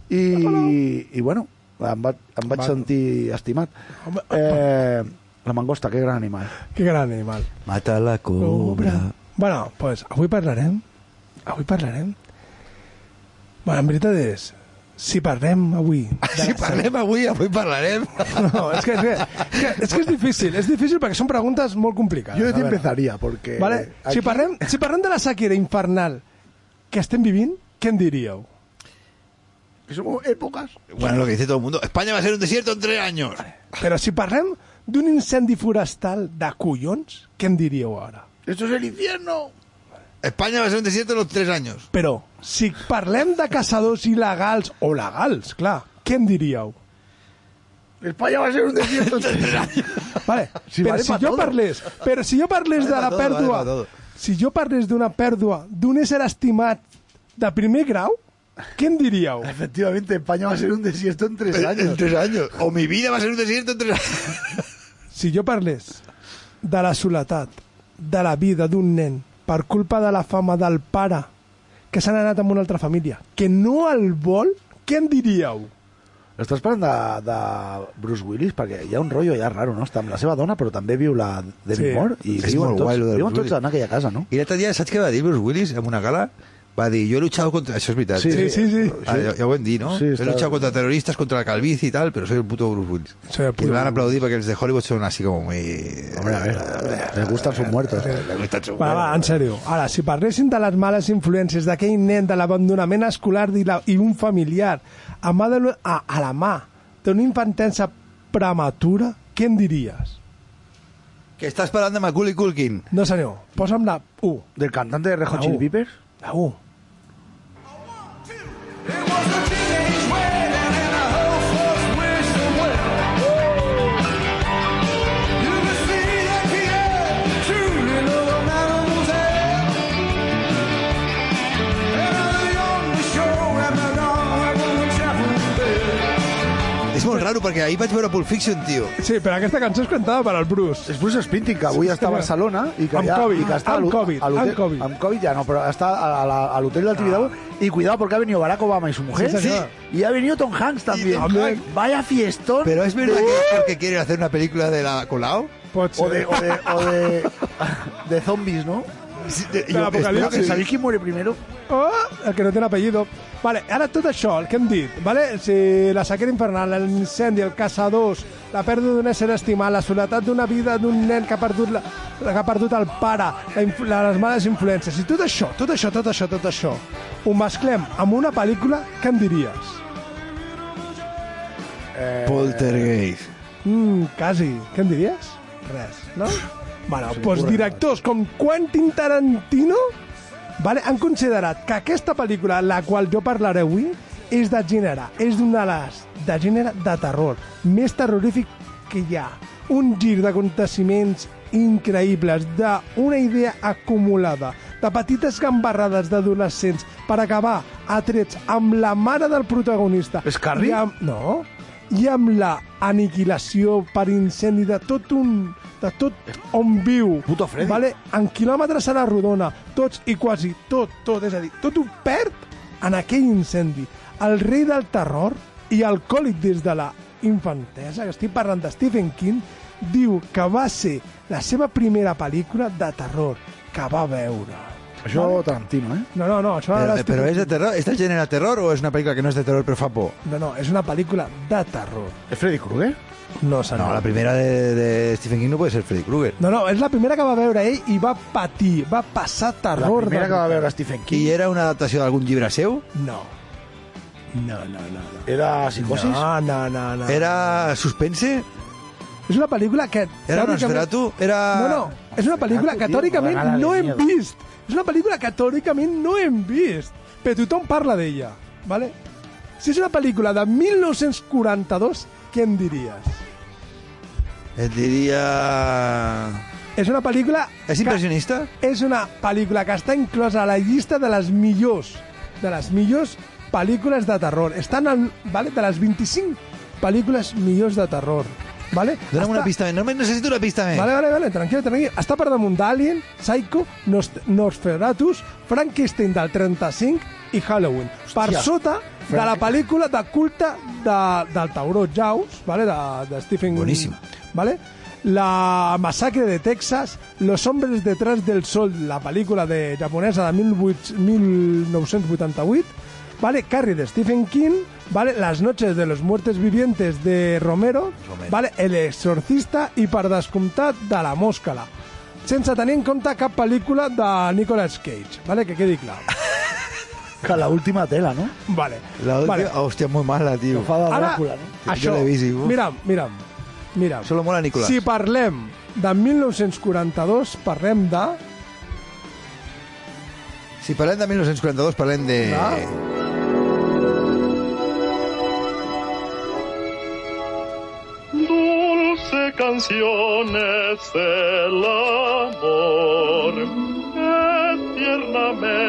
Speaker 3: I, I bueno, em, va, em vaig sentir estimat.
Speaker 4: Home.
Speaker 3: Eh, la mangosta, que gran animal.
Speaker 4: Que gran animal.
Speaker 5: Mata la cobra.
Speaker 4: Bueno, pues, avui parlarem... Avui parlarem... Bueno, en veritat és... Si parlem avui... de
Speaker 5: Si
Speaker 4: la-
Speaker 5: Ah, parlem avui, avui parlarem.
Speaker 4: No, és que, és, que, és, que, és que és difícil. És difícil perquè són preguntes molt complicades.
Speaker 3: Jo
Speaker 4: A
Speaker 3: de ti
Speaker 4: veure.
Speaker 3: empezaría, porque...
Speaker 4: Vale?
Speaker 3: aquí-
Speaker 4: Si, parlem, si parlem de la sequera infernal que estem vivint, què en diríeu?
Speaker 3: Que somos épocas.
Speaker 5: Bueno, lo que dice todo el mundo. España va a ser un desierto en tres años.
Speaker 4: Però si parlem d'un incendi forestal de collons, què en diríeu ara?
Speaker 3: Esto es el infierno.
Speaker 5: España va a ser un desierto en los tres años.
Speaker 4: Però, si parlem de caçadors il·legals, o legals, clar, què en diríeu?
Speaker 3: España va a ser un desierto en tres años.
Speaker 4: Vale,
Speaker 3: Si
Speaker 4: si però,
Speaker 3: vale
Speaker 4: si
Speaker 3: pa
Speaker 4: jo
Speaker 3: todo.
Speaker 4: parlés, però si jo parlés
Speaker 5: Vale
Speaker 4: de
Speaker 5: pa
Speaker 4: la
Speaker 5: todo, vale
Speaker 4: pèrdua,
Speaker 5: pa todo.
Speaker 4: si jo parlés d'una pèrdua d'un ésser estimat de primer grau, què en diríeu?
Speaker 3: Efectivamente, España va a ser un desierto en tres
Speaker 5: En
Speaker 3: años.
Speaker 5: tres años. O mi vida va a ser un desierto en tres años.
Speaker 4: Si jo parlés de la soledat, de la vida d'un nen, per culpa de la fama del pare, que s'han anat amb una altra família, que no el vol, què en diríeu?
Speaker 3: Estàs parlant de, de Bruce Willis? Perquè hi ha un rotllo ja raro, no? Està amb la seva dona, però també viu la Demi
Speaker 4: Sí.
Speaker 3: Moore. I
Speaker 5: És
Speaker 3: viuen
Speaker 5: molt guai,
Speaker 3: tots,
Speaker 5: lo de
Speaker 3: viuen
Speaker 5: Bruce
Speaker 3: tots en aquella casa, no?
Speaker 5: I l'altre dia, saps què va dir Bruce Willis en una gala? Va dir, jo he luchado contra... Això és veritat.
Speaker 3: Sí,
Speaker 4: Sí, sí, sí.
Speaker 5: Ah, ja, ja ho hem dit, no?
Speaker 3: Sí,
Speaker 5: he
Speaker 3: està-
Speaker 5: luchado contra terroristas, contra la calvicie y tal, pero soy el puto Bruce Willis.
Speaker 4: Soy el
Speaker 5: y
Speaker 4: puto
Speaker 5: me van a
Speaker 4: Bruce
Speaker 5: aplaudir porque los de Hollywood son así como muy...
Speaker 3: Hombre, a ver, les gustan sus muertos.
Speaker 5: Le gusta su-
Speaker 4: Va, va, en sèrio. Ara, si parléssim de les males influències d'aquell nen de l'abandonament escolar i, la, i un familiar a, mà de, l'u- a, a la mà d'una infantesa prematura, què en diries?
Speaker 5: Que estás parando a Macaulay Culkin.
Speaker 4: No, senyor, posa'm la 1.
Speaker 3: Del cantante de Red Hot
Speaker 4: Ah,
Speaker 3: Chili
Speaker 4: uh.
Speaker 3: Peppers?
Speaker 4: La 1.
Speaker 5: És molt raro perquè ahir vaig veure Pulp Fiction, tio.
Speaker 4: Sí, però aquesta cançó és cantada per al Bruce.
Speaker 3: És Bruce Springsteen, que avui
Speaker 4: Sí,
Speaker 3: està a
Speaker 4: senyor.
Speaker 3: Barcelona i que
Speaker 4: Amb
Speaker 3: ja,
Speaker 4: Covid,
Speaker 3: i que està a
Speaker 4: amb
Speaker 3: l'ho-
Speaker 4: Covid,
Speaker 3: a l'hotel-
Speaker 4: amb Covid. Ah.
Speaker 3: Amb Covid ya no, pero está a la- al hotel del Tibidabo. Y cuidado porque ha venido Barack Obama y su mujer.
Speaker 4: Sí, señor.
Speaker 3: Y ha venido Tom Hanks también.
Speaker 4: Tom Hanks.
Speaker 3: Vaya fiestón.
Speaker 5: Pero es verdad que es porque quieren hacer una película de la Colau.
Speaker 4: Pot ser.
Speaker 3: O de, o de, o de, de zombies, ¿no?
Speaker 5: Sí, de-
Speaker 4: Del apocalipsis.
Speaker 3: Espero que- ¿Sabéis quién muere primero?
Speaker 4: Oh, el que no té apellido. Vale, ara tot això, el que hem dit, vale? si la sequera infernal, l'incendi, el caçadors, la pèrdua d'un ésser estimat, la soledat d'una vida d'un nen que ha perdut, la, que ha perdut el pare, la, inf- la, les males influències, i tot això, tot això, tot això, tot això, ho mesclem amb una pel·lícula, què em diries?
Speaker 5: Poltergeist.
Speaker 4: Mm, quasi. Què en diries? Res, no? Bueno, sí, doncs directors com Quentin Tarantino vale, han considerat que aquesta pel·lícula, la qual jo parlaré avui, és de gènere, és d'una de les de gènere de terror, més terrorífic que hi ha. Un gir d'aconteciments increïbles, d'una idea acumulada, de petites gambarrades d'adolescents per acabar a trets amb la mare del protagonista.
Speaker 3: És Carrie?
Speaker 4: I amb... No. I amb la aniquilació per incendi de tot un de tot on viu.
Speaker 3: Puto Freddy.
Speaker 4: Vale? En quilòmetres a la rodona, tots i quasi tot, tot, és a dir, tot ho perd en aquell incendi. El rei del terror i alcohòlic des de la infantesa, que estic parlant de Stephen King, diu que va ser la seva primera pel·lícula de terror que va veure.
Speaker 3: Això Tarantino, eh?
Speaker 4: No, no, no, això
Speaker 5: Però,
Speaker 4: era
Speaker 5: eh,
Speaker 4: Stephen
Speaker 5: però és de
Speaker 4: King.
Speaker 5: terror? ¿Esta genera terror o és una pel·lícula que no és de terror però fa por?
Speaker 4: No, no, és una pel·lícula de terror.
Speaker 3: ¿Es Freddy Krueger?
Speaker 4: No, senyor.
Speaker 5: No, la primera de, de Stephen King no puede ser Freddy Krueger.
Speaker 4: No, no, és la primera que va veure ell i va patir, va passar
Speaker 3: La
Speaker 4: terror.
Speaker 3: primera que va
Speaker 4: de-
Speaker 3: veure Stephen
Speaker 4: Mm.
Speaker 5: I
Speaker 3: King
Speaker 5: era una adaptació d'algun llibre seu?
Speaker 4: No. No, no, no. no.
Speaker 3: era Psicosis.
Speaker 4: No, no, no, no.
Speaker 5: Era suspense?
Speaker 4: És una pel·lícula que...
Speaker 5: Era
Speaker 4: teòricament-
Speaker 5: Nosferatu? Era...
Speaker 4: No, no, és una pel·lícula que
Speaker 3: ah, tio,
Speaker 4: teòricament
Speaker 3: m'agrada de
Speaker 4: no hem
Speaker 3: miedo.
Speaker 4: vist. És una pel·lícula que teòricament no hem vist. Però tothom parla d'ella, ¿vale? Si és una pel·lícula de 1942, què en diries?
Speaker 5: Et diria...
Speaker 4: És una pel·lícula...
Speaker 5: És
Speaker 4: que-
Speaker 5: impressionista?
Speaker 4: és una pel·lícula que està inclosa a la llista de les millors de les millors pel·lícules de terror. Estan en, vale, de les 25 pel·lícules millors de terror. Vale?
Speaker 5: Dóna'm
Speaker 4: Està-
Speaker 5: una pista més. No me- necessito una pista més.
Speaker 4: Vale, vale, vale, tranquil, tranquil. Està per damunt d'Alien, Psycho, Nost Nosferatus, Frankenstein del 35 i Halloween. Per
Speaker 3: Hòstia.
Speaker 4: sota de la pel·lícula de culte de, del tauró Jaws, vale, de, de Stephen...
Speaker 5: Boníssim.
Speaker 4: Vale? La masacre de Texas, Los hombres detrás del sol, la pel·lícula de japonesa de 18 1988, vale? Carrie de Stephen King, vale? Las noches de los muertes vivientes de Romero,
Speaker 5: Romero.
Speaker 4: vale? El exorcista i per descomptat de la moscala sense tenir en compte cap pel·lícula de Nicolas Cage, vale? que quedi clar.
Speaker 3: Que la última tela, ¿no?
Speaker 4: Vale.
Speaker 5: La última...
Speaker 4: vale.
Speaker 5: Hòstia, molt mala, tio.
Speaker 3: Enfada
Speaker 4: Ara,
Speaker 3: Drácula, ¿no?
Speaker 5: Sí,
Speaker 4: això,
Speaker 5: jo l'he vist, i uf.
Speaker 4: mira'm, mira'm, mira'm.
Speaker 5: Solo mola Nicolas.
Speaker 4: Si parlem de 1942, parlem de...
Speaker 5: Si parlem de 1942, parlem de...
Speaker 4: Ah.
Speaker 11: Dulce canción es el amor, es tierna melodía,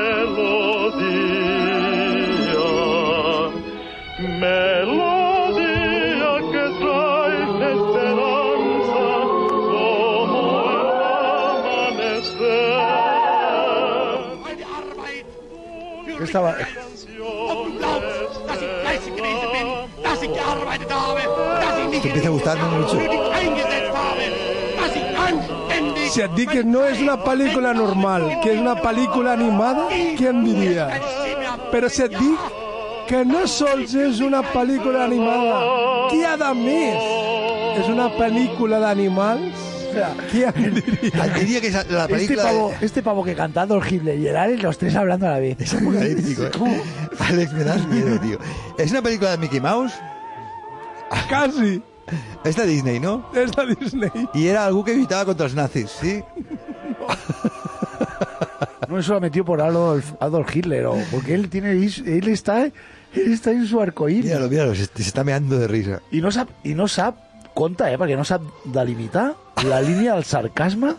Speaker 11: melodía que trae esperanza como el amanecer.
Speaker 3: Que estaba...
Speaker 5: Te empieza gustando mucho.
Speaker 4: Si et dic que no és una pel·lícula normal, que és una pel·lícula animada, què em diries? Però si et dic que no sols és una pel·lícula animada, qui ha de més? És una pel·lícula d'animals? Qui em diria?
Speaker 5: Al- Diría que es la
Speaker 3: Este
Speaker 5: película...
Speaker 3: pavo, este pavo que cantando el Hitler y el Ares, los tres hablando a la vez.
Speaker 5: Es apocalíptico, ¿eh? Alex, me das miedo, tío. Es una película de Mickey Mouse.
Speaker 4: Quasi.
Speaker 5: Es de Disney, ¿no?
Speaker 4: És de Disney.
Speaker 5: Y era algo que evitaba contra los nazis, ¿sí?
Speaker 3: No eso lo metió por Adolf, Adolf Hitler, o porque él tiene él está, él está en su arcoíris.
Speaker 5: Míralo, míralo, se, se está meando de risa.
Speaker 3: I no sap, i no sap, conta, eh, perquè no sap delimitar la línia del sarcasme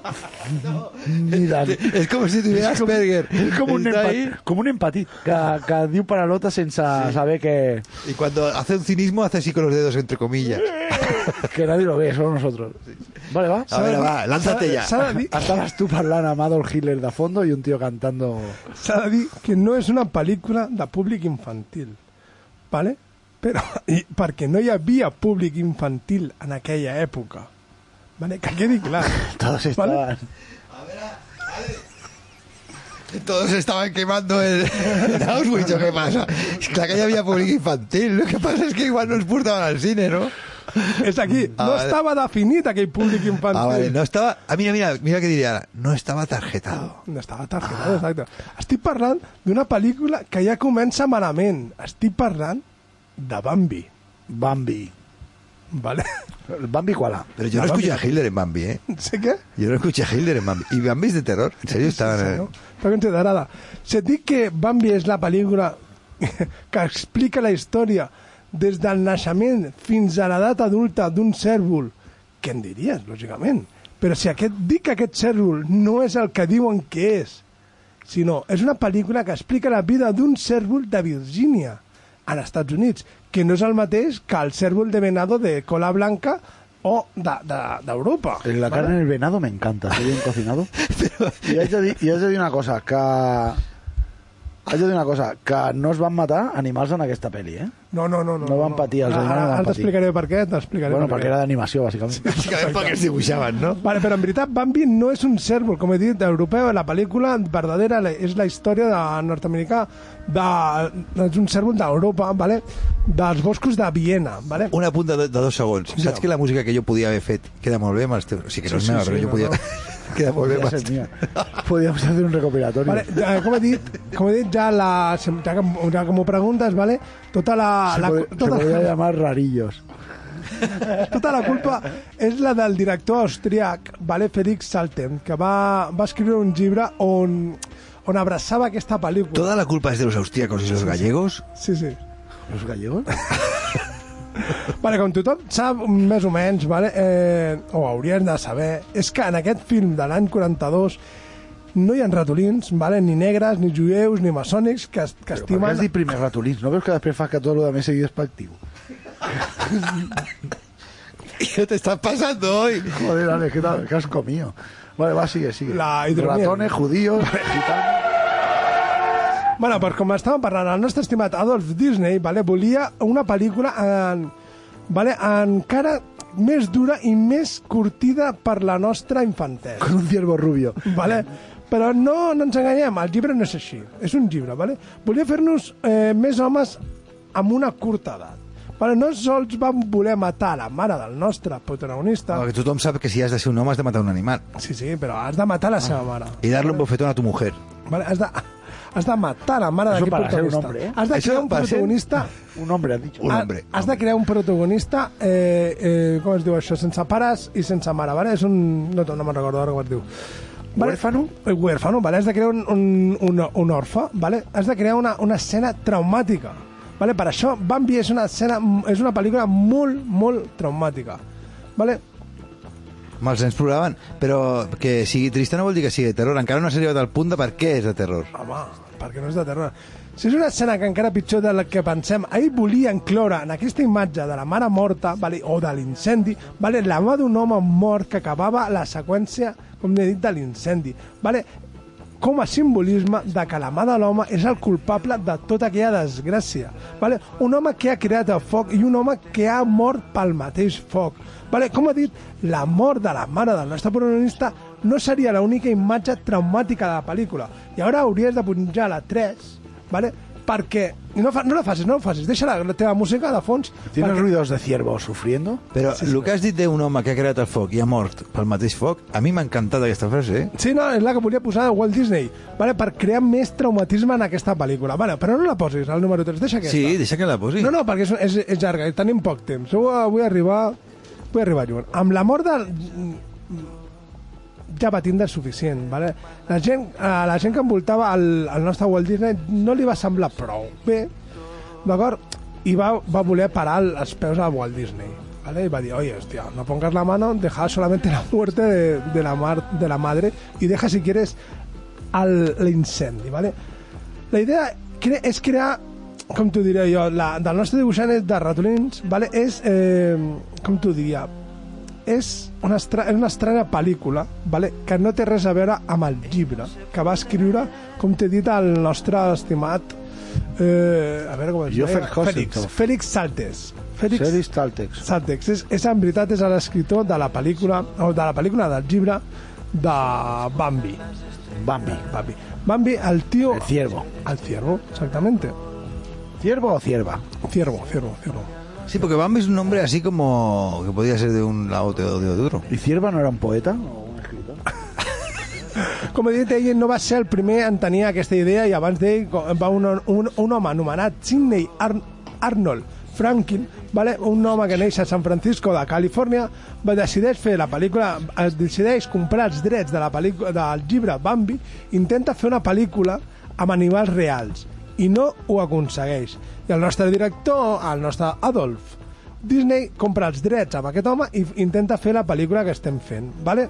Speaker 3: ni de...
Speaker 5: Es como si tuviera
Speaker 3: És com-
Speaker 5: Asperger.
Speaker 3: És com un,
Speaker 5: Está ahí,
Speaker 3: empat, com un empatit que, que diu paralota sense saber que,
Speaker 5: Y cuando hace un cinismo, hace así con los dedos, entre comillas.
Speaker 3: que nadie lo ve, solo nosotros. Vale, va.
Speaker 5: A ver, va, lánzate ya.
Speaker 4: S'ha de dir
Speaker 3: Estaves tu parlant amb Adolf Hitler de fondo i un tio cantando...
Speaker 4: s'ha de dir que no és una pel·lícula de públic infantil, ¿vale? Però, i, perquè no hi havia públic infantil en aquella època. Vale? Que quedi clar.
Speaker 3: Todos estaban...
Speaker 5: Todos estaban quemando el, el Auschwitz, ¿o qué pasa? Es que acá ya había público infantil. Lo que pasa es que igual nos portaban al cine, ¿no?
Speaker 4: És aquí.
Speaker 5: Ah,
Speaker 4: No
Speaker 5: vale.
Speaker 4: estava definit aquell públic infantil.
Speaker 5: Ah, vale, no estaba... Ah, mira, mira, mira que diría ahora. No estaba tarjetado.
Speaker 4: No estava targetada, exacte. Estic parlant d'una pel·lícula que ja comença malament. Estic parlant de Bambi,
Speaker 3: Bambi.
Speaker 4: vale?
Speaker 3: El Bambi cuala.
Speaker 5: Pero yo no escuché a Hitler en Bambi, ¿eh?
Speaker 4: Sé què?
Speaker 5: Yo no escuché a Hitler en Bambi. ¿Y Bambi es de terror? ¿En serio estaban...?
Speaker 4: Sí,
Speaker 5: eh?
Speaker 4: no? Està considerada. Si et dic que Bambi és la pel·lícula que explica la història des del naixement fins a l'edat adulta d'un cèrvol, què en diries, lògicament? Però si aquest, dic que aquest cèrvol no és el que diuen que és, sinó és una pel·lícula que explica la vida d'un cèrvol de Virgínia, als Estats Units, que no és el mateix que el cèrvol de venado de cola blanca o de- de- d'Europa. De,
Speaker 3: La carne del venado me encanta, estoy bien cocinado. I haig de dir, i haig de dir una cosa, que... Haig de dir una cosa, que no es van matar animals en aquesta pel·li, eh?
Speaker 4: No, no, no. No,
Speaker 3: No van patir, els
Speaker 4: Ara-
Speaker 3: animals no
Speaker 4: Ara,
Speaker 3: van
Speaker 4: ara
Speaker 3: patir.
Speaker 4: t'explicaré per què, t'explicaré
Speaker 3: Bueno,
Speaker 4: per
Speaker 3: perquè
Speaker 4: què.
Speaker 3: era d'animació, bàsicament.
Speaker 5: Básicamente porque se dibujaban, ¿no?
Speaker 4: Vale, però en veritat Bambi no és un cèrvol, com he dit, europeu. La pel·lícula verdadera la- és la història de nord-americà de... és un cèrvol d'Europa, vale? dels boscos de Viena. Vale?
Speaker 5: Una punta de, de dos segons. Saps
Speaker 4: Ja.
Speaker 5: que la música que jo podia haver fet queda molt bé amb els teus... Sí que no és
Speaker 4: Sí, sí,
Speaker 5: meva,
Speaker 4: sí,
Speaker 5: però jo
Speaker 4: no,
Speaker 5: podia... queda molt bé
Speaker 3: Podria
Speaker 5: amb
Speaker 3: ser
Speaker 5: els
Speaker 3: mía. Podríamos hacer un recopilatorio.
Speaker 4: Vale, ja, eh, com, he dit, com he dit, ja, la, ja, que, ja que m'ho preguntes, vale? tota la...
Speaker 3: se,
Speaker 4: la
Speaker 3: pod- se
Speaker 4: tota,
Speaker 3: podría llamar rarillos.
Speaker 4: tota la culpa és la del director austríac, vale, Felix Salten, que va, va escriure un llibre on, on abraçava aquesta pel·lícula.
Speaker 5: Toda la culpa es de los austríacos y los gallegos.
Speaker 4: Sí, sí.
Speaker 3: ¿Los gallegos?
Speaker 4: Vale, com tothom sap, més o menys, vale, eh, o haurien de saber, és que en aquest film de l'any 42 no hi ha ratolins, vale, ni negres, ni jueus, ni maçònics, que, es- que
Speaker 3: Però has
Speaker 4: estimen...
Speaker 3: dit primer ratolins, no veus que després fas que tot el de més seguit és pactiu?
Speaker 5: ¿Qué te estás pasando hoy?
Speaker 3: Joder, Ale, ¿qué tal? ¿Qué has comido? Vale, va, sigue, sigue.
Speaker 4: La hidromiel.
Speaker 3: Ratones, judíos, gitanos...
Speaker 4: Bueno, doncs com estàvem parlant, el nostre estimat Adolf Disney vale, volia una pel·lícula en, vale, encara més dura i més curtida per la nostra infantesa.
Speaker 3: Con un ciervo rubio.
Speaker 4: Vale? Però no, no ens enganyem, el llibre no és així. És un llibre, vale? Volia fer-nos eh, més homes amb una curta edat. Vale? No sols vam voler matar la mare del nostre protagonista,
Speaker 5: Porque tothom sap Ah, que si has de ser un home has de matar un animal.
Speaker 4: sí, sí, però has de matar la seva mare.
Speaker 5: Y darle un bofetón a tu mujer.
Speaker 4: Vale? Has de, has de matar la mare d'aquest
Speaker 3: para ser un
Speaker 4: protagonista.
Speaker 3: hombre, eh?
Speaker 4: Has de
Speaker 5: Eso
Speaker 4: crear un
Speaker 5: para ser-
Speaker 4: protagonista...
Speaker 3: Un hombre, has dicho.
Speaker 5: Un
Speaker 4: Ha-
Speaker 5: hombre.
Speaker 4: Ah, Has de crear un protagonista, eh, eh, com es diu això, sense pares i sense mare, vale? És un... No, no me'n recordo ara com es diu.
Speaker 3: Huérfano?
Speaker 4: Huérfano, ¿vale? Has de crear un, un, un, un orfe, ¿vale? Has de crear una, una escena traumàtica. ¿Vale? Per això Bambi és una, escena, és una pel·lícula molt, molt traumàtica. ¿Vale?
Speaker 5: Me'ls ens ploraven, però que sigui trista no vol dir que sigui de terror. Encara no has arribat al punt de per què és de terror.
Speaker 4: Home, perquè no és de terror. Si és una escena que encara pitjor de la que pensem, ahir volia incloure en aquesta imatge de la mare morta vale, o de l'incendi vale, la mà d'un home mort que acabava la seqüència, com he dit, de l'incendi. Vale? com a simbolisme de que la mà de l'home és el culpable de tota aquella desgràcia. Vale? Un home que ha creat el foc i un home que ha mort pel mateix foc. Vale? Com ha dit, la mort de la mare del nostre protagonista no seria l'única imatge traumàtica de la pel·lícula. I ara hauries de punjar la 3, vale? perquè no, fa, no la facis, no la facis, deixa la, la teva música de fons.
Speaker 3: ¿Tienes
Speaker 4: perquè-
Speaker 3: ruidos de ciervo sufriendo?
Speaker 5: Però el que has dit d'un home que ha creat el foc i ha mort pel mateix foc, a mi m'ha encantat aquesta frase, eh?
Speaker 4: Sí, no, és la que volia posar de Walt Disney, vale? per crear més traumatisme en aquesta pel·lícula. Vale, però no la posis, al número 3, deixa aquesta.
Speaker 5: Sí, deixa que la posi.
Speaker 4: No, no, perquè és, és, és llarga, i tenim poc temps. Jo vull arribar... Vull arribar lluny. Amb la mort del... ja va tindre suficient, vale? La gent, a la gent que envoltava el, el nostre Walt Disney no li va semblar prou bé, d'acord? I va, va voler parar el- els peus a Walt Disney, vale? I va dir, oye, hostia, no pongas la mano, deja solamente la muerte de, de, la, mar, de la madre y deja, si quieres, al- l'incendi, vale? La idea cre és crear, com t'ho diré jo, la, del nostre dibuixant és de ratolins, vale? és, eh, com t'ho diria, és una, estra és una estranya pel·lícula vale? que no té res a veure amb el llibre que va escriure, com t'he dit, el nostre estimat... Eh, a veure com es
Speaker 3: Jo
Speaker 4: deia?
Speaker 3: Fer Hostetov.
Speaker 4: Félix, Félix Saltes. Félix
Speaker 3: Félix Saltes.
Speaker 4: Saltes. És, és, en veritat, és l'escriptor de la pel·lícula, o de la pel·lícula del llibre de Bambi.
Speaker 3: Bambi.
Speaker 4: Bambi. Bambi, el tío...
Speaker 3: El ciervo.
Speaker 4: Al ciervo, exactamente.
Speaker 3: ¿Ciervo o cierva?
Speaker 4: Ciervo, ciervo, ciervo.
Speaker 5: Sí, porque Bambi es un nombre así como que podía ser de un lado o de otro.
Speaker 3: ¿Y cierva no era un poeta?
Speaker 4: Com he dit, ell no va ser el primer en tenir aquesta idea i abans d'ell co- va un, un, un home anomenat Sidney Ar Arnold Franklin, vale? un home que neix a San Francisco de Califòrnia, va decideix fer la pel·lícula, es decideix comprar els drets de la pel·lícula del llibre Bambi, intenta fer una pel·lícula amb animals reals i no ho aconsegueix. I el nostre director, el nostre Adolf, Disney compra els drets amb aquest home i intenta fer la pel·lícula que estem fent, vale?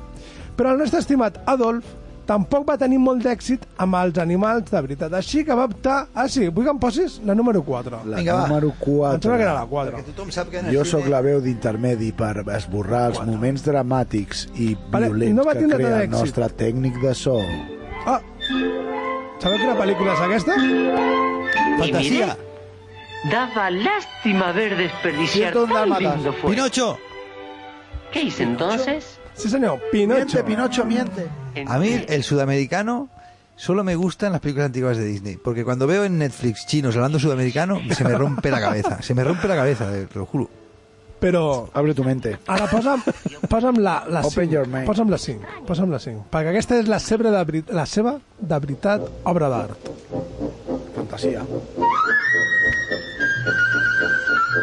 Speaker 4: Però el nostre estimat Adolf tampoc va tenir molt d'èxit amb els animals de veritat, així que va optar... Ah, sí, vull que em posis la número 4.
Speaker 3: La
Speaker 5: Vinga, va.
Speaker 3: número
Speaker 4: Em sembla que era
Speaker 3: 4.
Speaker 4: la 4.
Speaker 5: Tothom sap que en el
Speaker 3: Jo
Speaker 5: cine-
Speaker 3: sóc la veu d'intermedi per esborrar els moments dramàtics i
Speaker 4: Vale,
Speaker 3: violents
Speaker 4: no va
Speaker 3: que
Speaker 4: tindre
Speaker 3: crea
Speaker 4: tant
Speaker 3: el
Speaker 4: èxit.
Speaker 3: nostre tècnic de so.
Speaker 4: Ah, sabeu quina pel·lícula és aquesta?
Speaker 5: Fantasía.
Speaker 12: Daba lástima ver desperdiciar
Speaker 3: Cientos
Speaker 12: tan
Speaker 3: dálmatas.
Speaker 12: lindo fuego.
Speaker 5: Pinocho.
Speaker 12: ¿Qué hice entonces?
Speaker 4: Sí, senyor, Pinocho.
Speaker 3: Miente, Pinocho, miente.
Speaker 5: A mí el sudamericano solo me gustan las películas antiguas de Disney, porque cuando veo en Netflix chinos hablando sudamericano se me rompe la cabeza, se me rompe la cabeza, te lo juro.
Speaker 4: Però...
Speaker 3: Abre tu mente.
Speaker 4: Ara posa'm, posa'm la, la
Speaker 3: Open
Speaker 4: 5.
Speaker 3: your mind.
Speaker 4: Posa'm la 5. Posa'm la 5. Perquè aquesta és la seva de, veri- la seva de veritat obra d'art.
Speaker 3: Fantasia.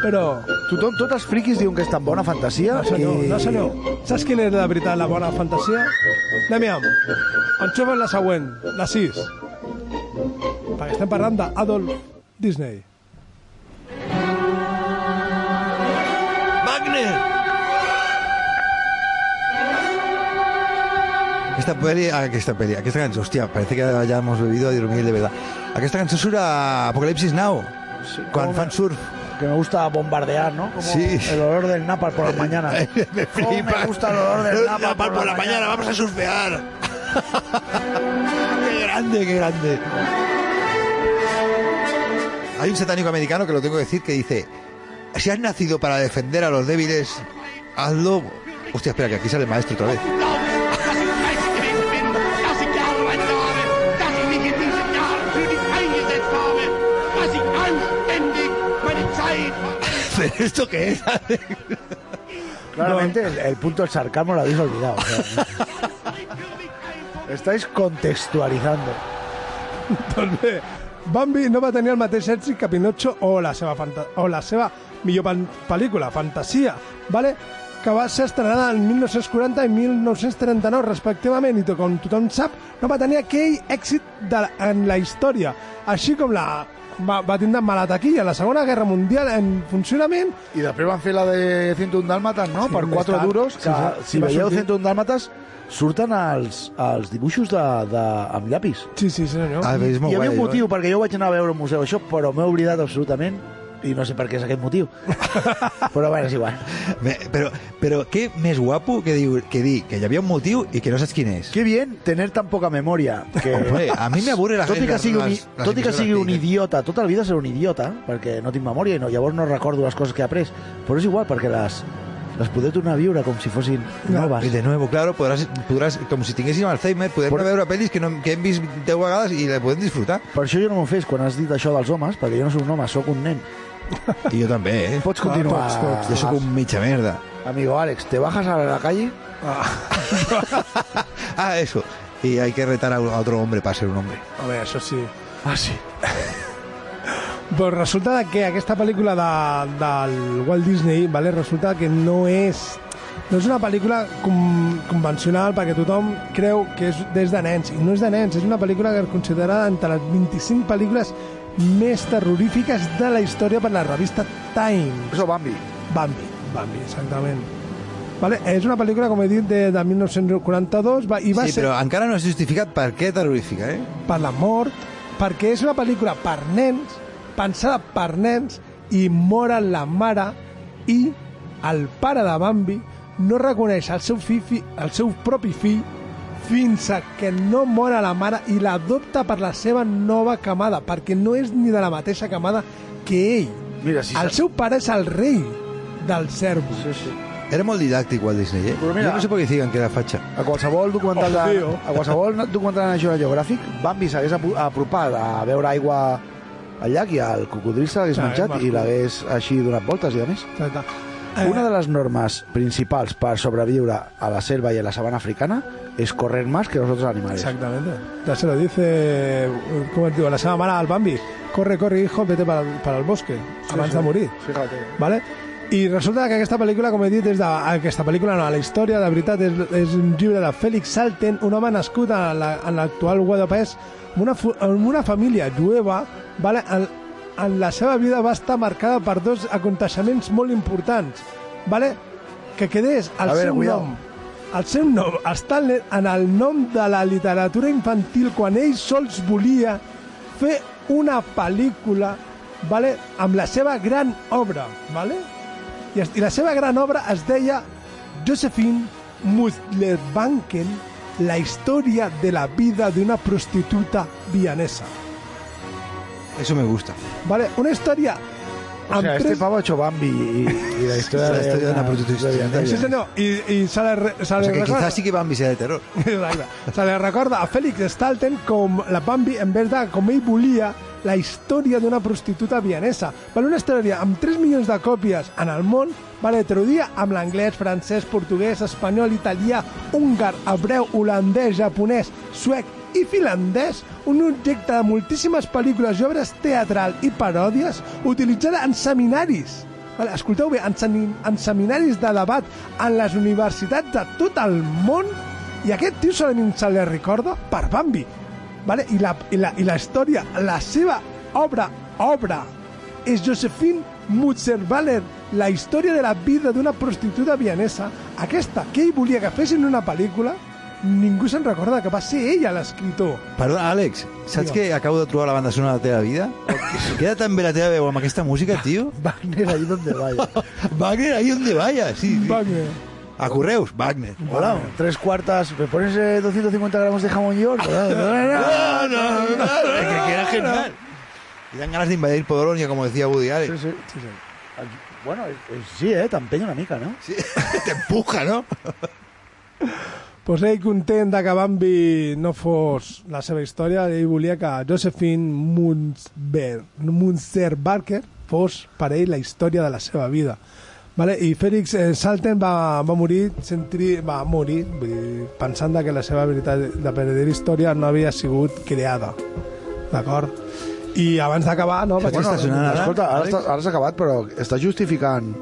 Speaker 4: Però...
Speaker 3: Tothom, tots els friquis diuen que és tan bona fantasia eh,
Speaker 4: No, senyor,
Speaker 3: i...
Speaker 4: no, senyor. Saps quina és de veritat la bona fantasia? Anem-hi amb. Enxufen la següent, la 6. Perquè estem parlant d'Adolf Disney.
Speaker 5: Wagner. Aquesta peli, aquesta peli, aquesta cançó, hòstia, parece que ja hemos bebido a dormir de verdad. Aquesta cançó surt a Apocalipsis Now, quan
Speaker 3: com-
Speaker 5: fan surf.
Speaker 3: Que me gusta bombardear, ¿no? Como
Speaker 5: Sí.
Speaker 3: el olor del napal por las mañanas.
Speaker 5: Me
Speaker 3: Cómo me gusta el olor del napal, por, la mañana.
Speaker 5: vamos a surfear. qué grande, qué grande. Hay un satánico americano que lo tengo que decir que dice, si has nacido para defender a los débiles, hazlo... Hostia, espera, que aquí sale el maestro otra vez. ¿Pero esto qué es?
Speaker 3: Claramente el, el punto del sarcasmo lo habéis olvidado. o sea, estáis contextualizando.
Speaker 4: Doncs bé, Bambi no va tenir el mateix èxit que Pinocho o la seva, fanta o la seva millor pan pel·lícula, Fantasia, vale? que va ser estrenada en 1940 i 1939, respectivament, i to- com tothom sap, no va tenir aquell èxit de, la- en la història, així com la va, va tindre mala taquilla. La Segona Guerra Mundial en funcionament...
Speaker 3: I després van fer la de 101 Dálmatas, no? per 4 duros, que si veieu 101 Dálmatas, surten els, els dibuixos de, de, amb llapis.
Speaker 4: Sí, sí, senyor.
Speaker 5: Ah, és molt
Speaker 3: Hi havia
Speaker 5: guai,
Speaker 3: un motiu, perquè jo vaig anar a veure un museu això, però m'he oblidat absolutament i no sé per què és aquest motiu. però bueno, és igual.
Speaker 5: Bé, Però, però què més guapo que, diu, que dir que hi havia un motiu i que no saps quin és.
Speaker 3: Que bien tener tan poca memòria. Que...
Speaker 5: Hombre, a mi m'avorre la
Speaker 3: tot i
Speaker 5: gent,
Speaker 3: que sigui un,
Speaker 5: les- les
Speaker 3: tot i que
Speaker 5: impresores
Speaker 3: sigui un
Speaker 5: que dicen.
Speaker 3: idiota, tota la vida seré un idiota, perquè no tinc memòria i no, llavors no recordo les coses que he après. Però és igual, perquè les, les podré tornar a viure com si fossin noves.
Speaker 5: Y de nuevo, claro, podràs, podràs com si tinguéssim Alzheimer, podem
Speaker 3: Por-
Speaker 5: veure pel·lis que, no, que hem vist 10 vegades i la podem disfrutar.
Speaker 3: Per això jo no m'ho fes quan has dit això dels homes, perquè jo no sóc un home, sóc un nen.
Speaker 5: I jo també, eh?
Speaker 3: Pots continuar.
Speaker 5: Pots, pots. Jo sóc un mitja merda.
Speaker 3: Amigo Àlex, ¿te bajas a la calle?
Speaker 5: Ah, eso. Y hay que retar a otro hombre para ser un hombre.
Speaker 4: A veure, això sí.
Speaker 3: Ah, sí.
Speaker 4: Però resulta de que aquesta pel·lícula de, del Walt Disney vale, resulta que no és no és una pel·lícula com, convencional perquè tothom creu que és des de nens i no és de nens, és una pel·lícula que es considera entre les 25 pel·lícules més terrorífiques de la història per la revista Time
Speaker 3: Eso Bambi.
Speaker 4: Bambi, Bambi, exactament vale? és una pel·lícula com he dit de, de 1942 va, i va
Speaker 5: Sí,
Speaker 4: ser
Speaker 5: però encara no és justificat per què terrorífica, eh?
Speaker 4: per la mort, perquè és una pel·lícula per nens, pensada per nens, i moren la mare i el pare de Bambi no reconeix el seu, fi, fi, el seu propi fill fins a que no mora la mare i l'adopta per la seva nova camada, perquè no és ni de la mateixa camada que ell.
Speaker 3: Mira, si
Speaker 4: El
Speaker 3: sa-
Speaker 4: seu pare és el rei del cervo.
Speaker 3: Sí, sí.
Speaker 5: Era molt didàctic Walt Disney, eh?
Speaker 3: Però Pues mira-
Speaker 5: jo no sé per què diguin que era fatxa.
Speaker 3: A qualsevol documental
Speaker 4: Oh,
Speaker 3: de,
Speaker 4: tio.
Speaker 3: a qualsevol documental de National Geographic, Bambi s'hagués apu- apropat a beure aigua al llac i el cocodril se l'hagués
Speaker 4: Ah,
Speaker 3: menjat
Speaker 4: és
Speaker 3: i
Speaker 4: maco.
Speaker 3: l'hagués així donat voltes i a més.
Speaker 4: Exacte.
Speaker 3: Una de les normes principals per sobreviure a la selva i a la sabana africana és correr más que los otros animales.
Speaker 4: Exactamente. Ya se lo dice, como digo, la semana mala al Bambi. Corre, corre, hijo, vete para, para el bosque. Avanza a morir.
Speaker 3: Fíjate.
Speaker 4: ¿Vale? I resulta que aquesta pel·lícula, com he dit, és de, aquesta pel·lícula, no, la ah, història, de veritat, és, és un llibre de Félix Salten, un home nascut en la- en l'actual Guadalajara, amb una, fu- amb una família jueva, vale? en, en la seva vida va estar marcada per dos aconteixements molt importants, vale? que quedés el
Speaker 3: A veure,
Speaker 4: seu
Speaker 3: cuidao.
Speaker 4: nom. El seu nom està en- en el nom de la literatura infantil quan ell sols volia fer una pel·lícula vale, amb la seva gran obra. Vale? I, es- I la seva gran obra es deia Josephine Mutlerbanken, la història de la vida d'una prostituta vienesa.
Speaker 5: Eso me gusta.
Speaker 4: Vale? Una història
Speaker 3: O
Speaker 4: amb
Speaker 3: sea, este
Speaker 4: tres...
Speaker 3: pavo ha hecho Bambi y, y la historia
Speaker 5: La
Speaker 3: de
Speaker 5: historia de una prostituta.
Speaker 4: Sí, senyor, i, i se la, re- se la
Speaker 5: O sea, que
Speaker 4: recorda-
Speaker 5: quizás sí que van a de terror.
Speaker 4: Exacte. Se li recorda a Félix Stalten com la Bambi, en vez de com ell volia, la història d'una prostituta vienesa. Per una història amb 3 milions de còpies en el món, va la traduir amb l'anglès, francès, portuguès, espanyol, italià, húngar, hebreu, holandès, japonès, suec i finlandès, un objecte de moltíssimes pel·lícules i obres teatral i paròdies utilitzada en seminaris. Vale, escolteu bé, en, semi- en seminaris de debat en les universitats de tot el món i aquest tio solament se li recorda per Bambi. Vale? I, la, i, la, I la història, la seva obra, obra, és Josephine Mutzer-Waller, la història de la vida d'una prostituta vienesa. Aquesta, que ell volia que fessin una pel·lícula, ningú se'n recorda que va ser ella l'escriptor.
Speaker 5: Perdona, Àlex, saps que acabo de trobar la banda sonora de la teva vida? Queda tan bé la teva veu amb aquesta música, tio.
Speaker 3: Wagner ahí donde vaya.
Speaker 5: Wagner, ahí donde vaya, sí. sí.
Speaker 4: Wagner.
Speaker 5: A correus, Wagner.
Speaker 3: Hola, tres cuartas. ¿Me pones eh, 250 gramos de jamón york?
Speaker 5: No, no, no, es que que era genial. Y dan ganas de invadir Polonia, como decía Woody Allen.
Speaker 3: Sí, sí, sí, sí. Aquí- Bueno, eh, eh, sí, eh, t'empenya una mica, no?
Speaker 5: Sí. Te empuja, ¿no?
Speaker 4: Pues ell content de que Bambi no fos la seva història, ell volia que Josephine Munzer, Munzer Barker fos per ell la història de la seva vida. Vale? I Félix eh, Salten va, va morir, sentri, va morir vull dir, pensant de que la seva veritat de verdadera història no havia sigut creada. D'acord? I abans d'acabar... No,
Speaker 5: Saps què està sonant ara?
Speaker 3: Escolta, ara, està- ara s'ha acabat, però està justificant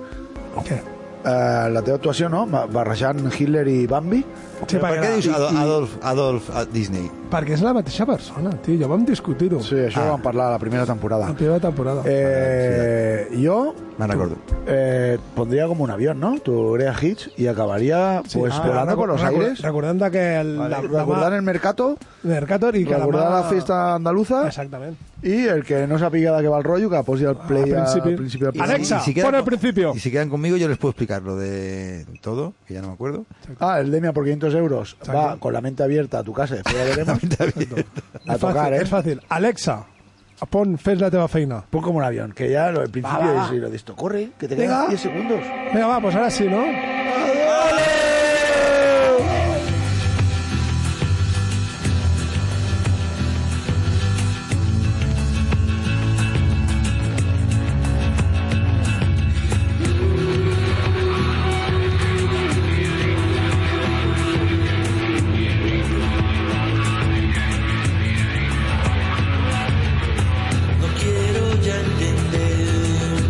Speaker 4: Què?
Speaker 3: eh, la teva actuació, no? Ma- Barrejant Hitler i Bambi.
Speaker 4: Sí,
Speaker 5: per què dius
Speaker 3: I-
Speaker 5: Adolf,
Speaker 3: i-
Speaker 5: Adolf, Adolf a Disney?
Speaker 4: Perquè és la mateixa persona, tio. Ja vam discutir-ho.
Speaker 3: Sí, això
Speaker 5: Ah.
Speaker 3: ho vam parlar a la primera temporada.
Speaker 4: La primera temporada.
Speaker 3: Eh, jo
Speaker 5: Me'n recordo.
Speaker 3: eh, pondria com un avión, ¿no? Tu Brea Hitch y acabaría pues
Speaker 4: ah,
Speaker 3: volando por los
Speaker 4: recu-
Speaker 3: aires.
Speaker 4: Recordant que el,
Speaker 3: Vale,
Speaker 4: demà-
Speaker 3: recordar el mercado,
Speaker 4: Mercator i que
Speaker 3: recordar
Speaker 4: demà-
Speaker 3: la fiesta andaluza
Speaker 4: Exactament.
Speaker 3: y el que no sapiga de qué va el rollo, que posi el play al
Speaker 4: principi.
Speaker 3: principio. del
Speaker 5: Y-
Speaker 3: programa.
Speaker 4: Alexa,
Speaker 5: y si
Speaker 4: pon
Speaker 5: quedan-
Speaker 4: al principio.
Speaker 5: Y si quedan conmigo yo les puedo explicar lo de todo, que ya no me acuerdo.
Speaker 3: Ah, el Demia por 500 euros. Va con la mente abierta a tu casa. después ya veremos. a
Speaker 4: És fàcil,
Speaker 3: tocar, ¿eh?
Speaker 4: És fàcil. Alexa, pon, fes la teva feina.
Speaker 3: Pon como un avión, que ya lo, al principio
Speaker 4: Va, va,
Speaker 3: es-
Speaker 4: va.
Speaker 3: y lo de esto. Corre, que te
Speaker 4: Venga.
Speaker 3: quedan 10 segundos.
Speaker 4: Vinga, va, pues ara sí, no?
Speaker 9: No quiero ya entender,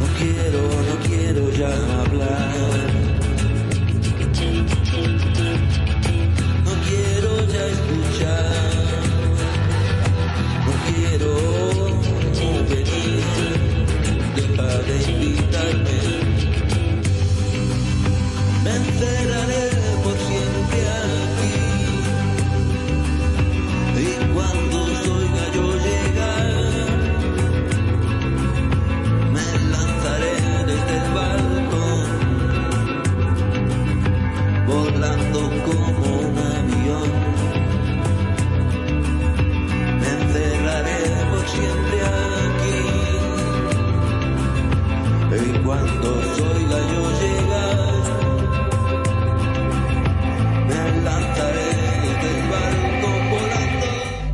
Speaker 9: no quiero, no quiero ya hablar. No quiero ya escuchar, no quiero venir, deja de invitarme. Me encerraré por siempre aquí. Y cuando os oiga yo llegar, me lanzaré desde el balcón, volando como un avión. Me encerraré E por siempre aquí. Y cuando os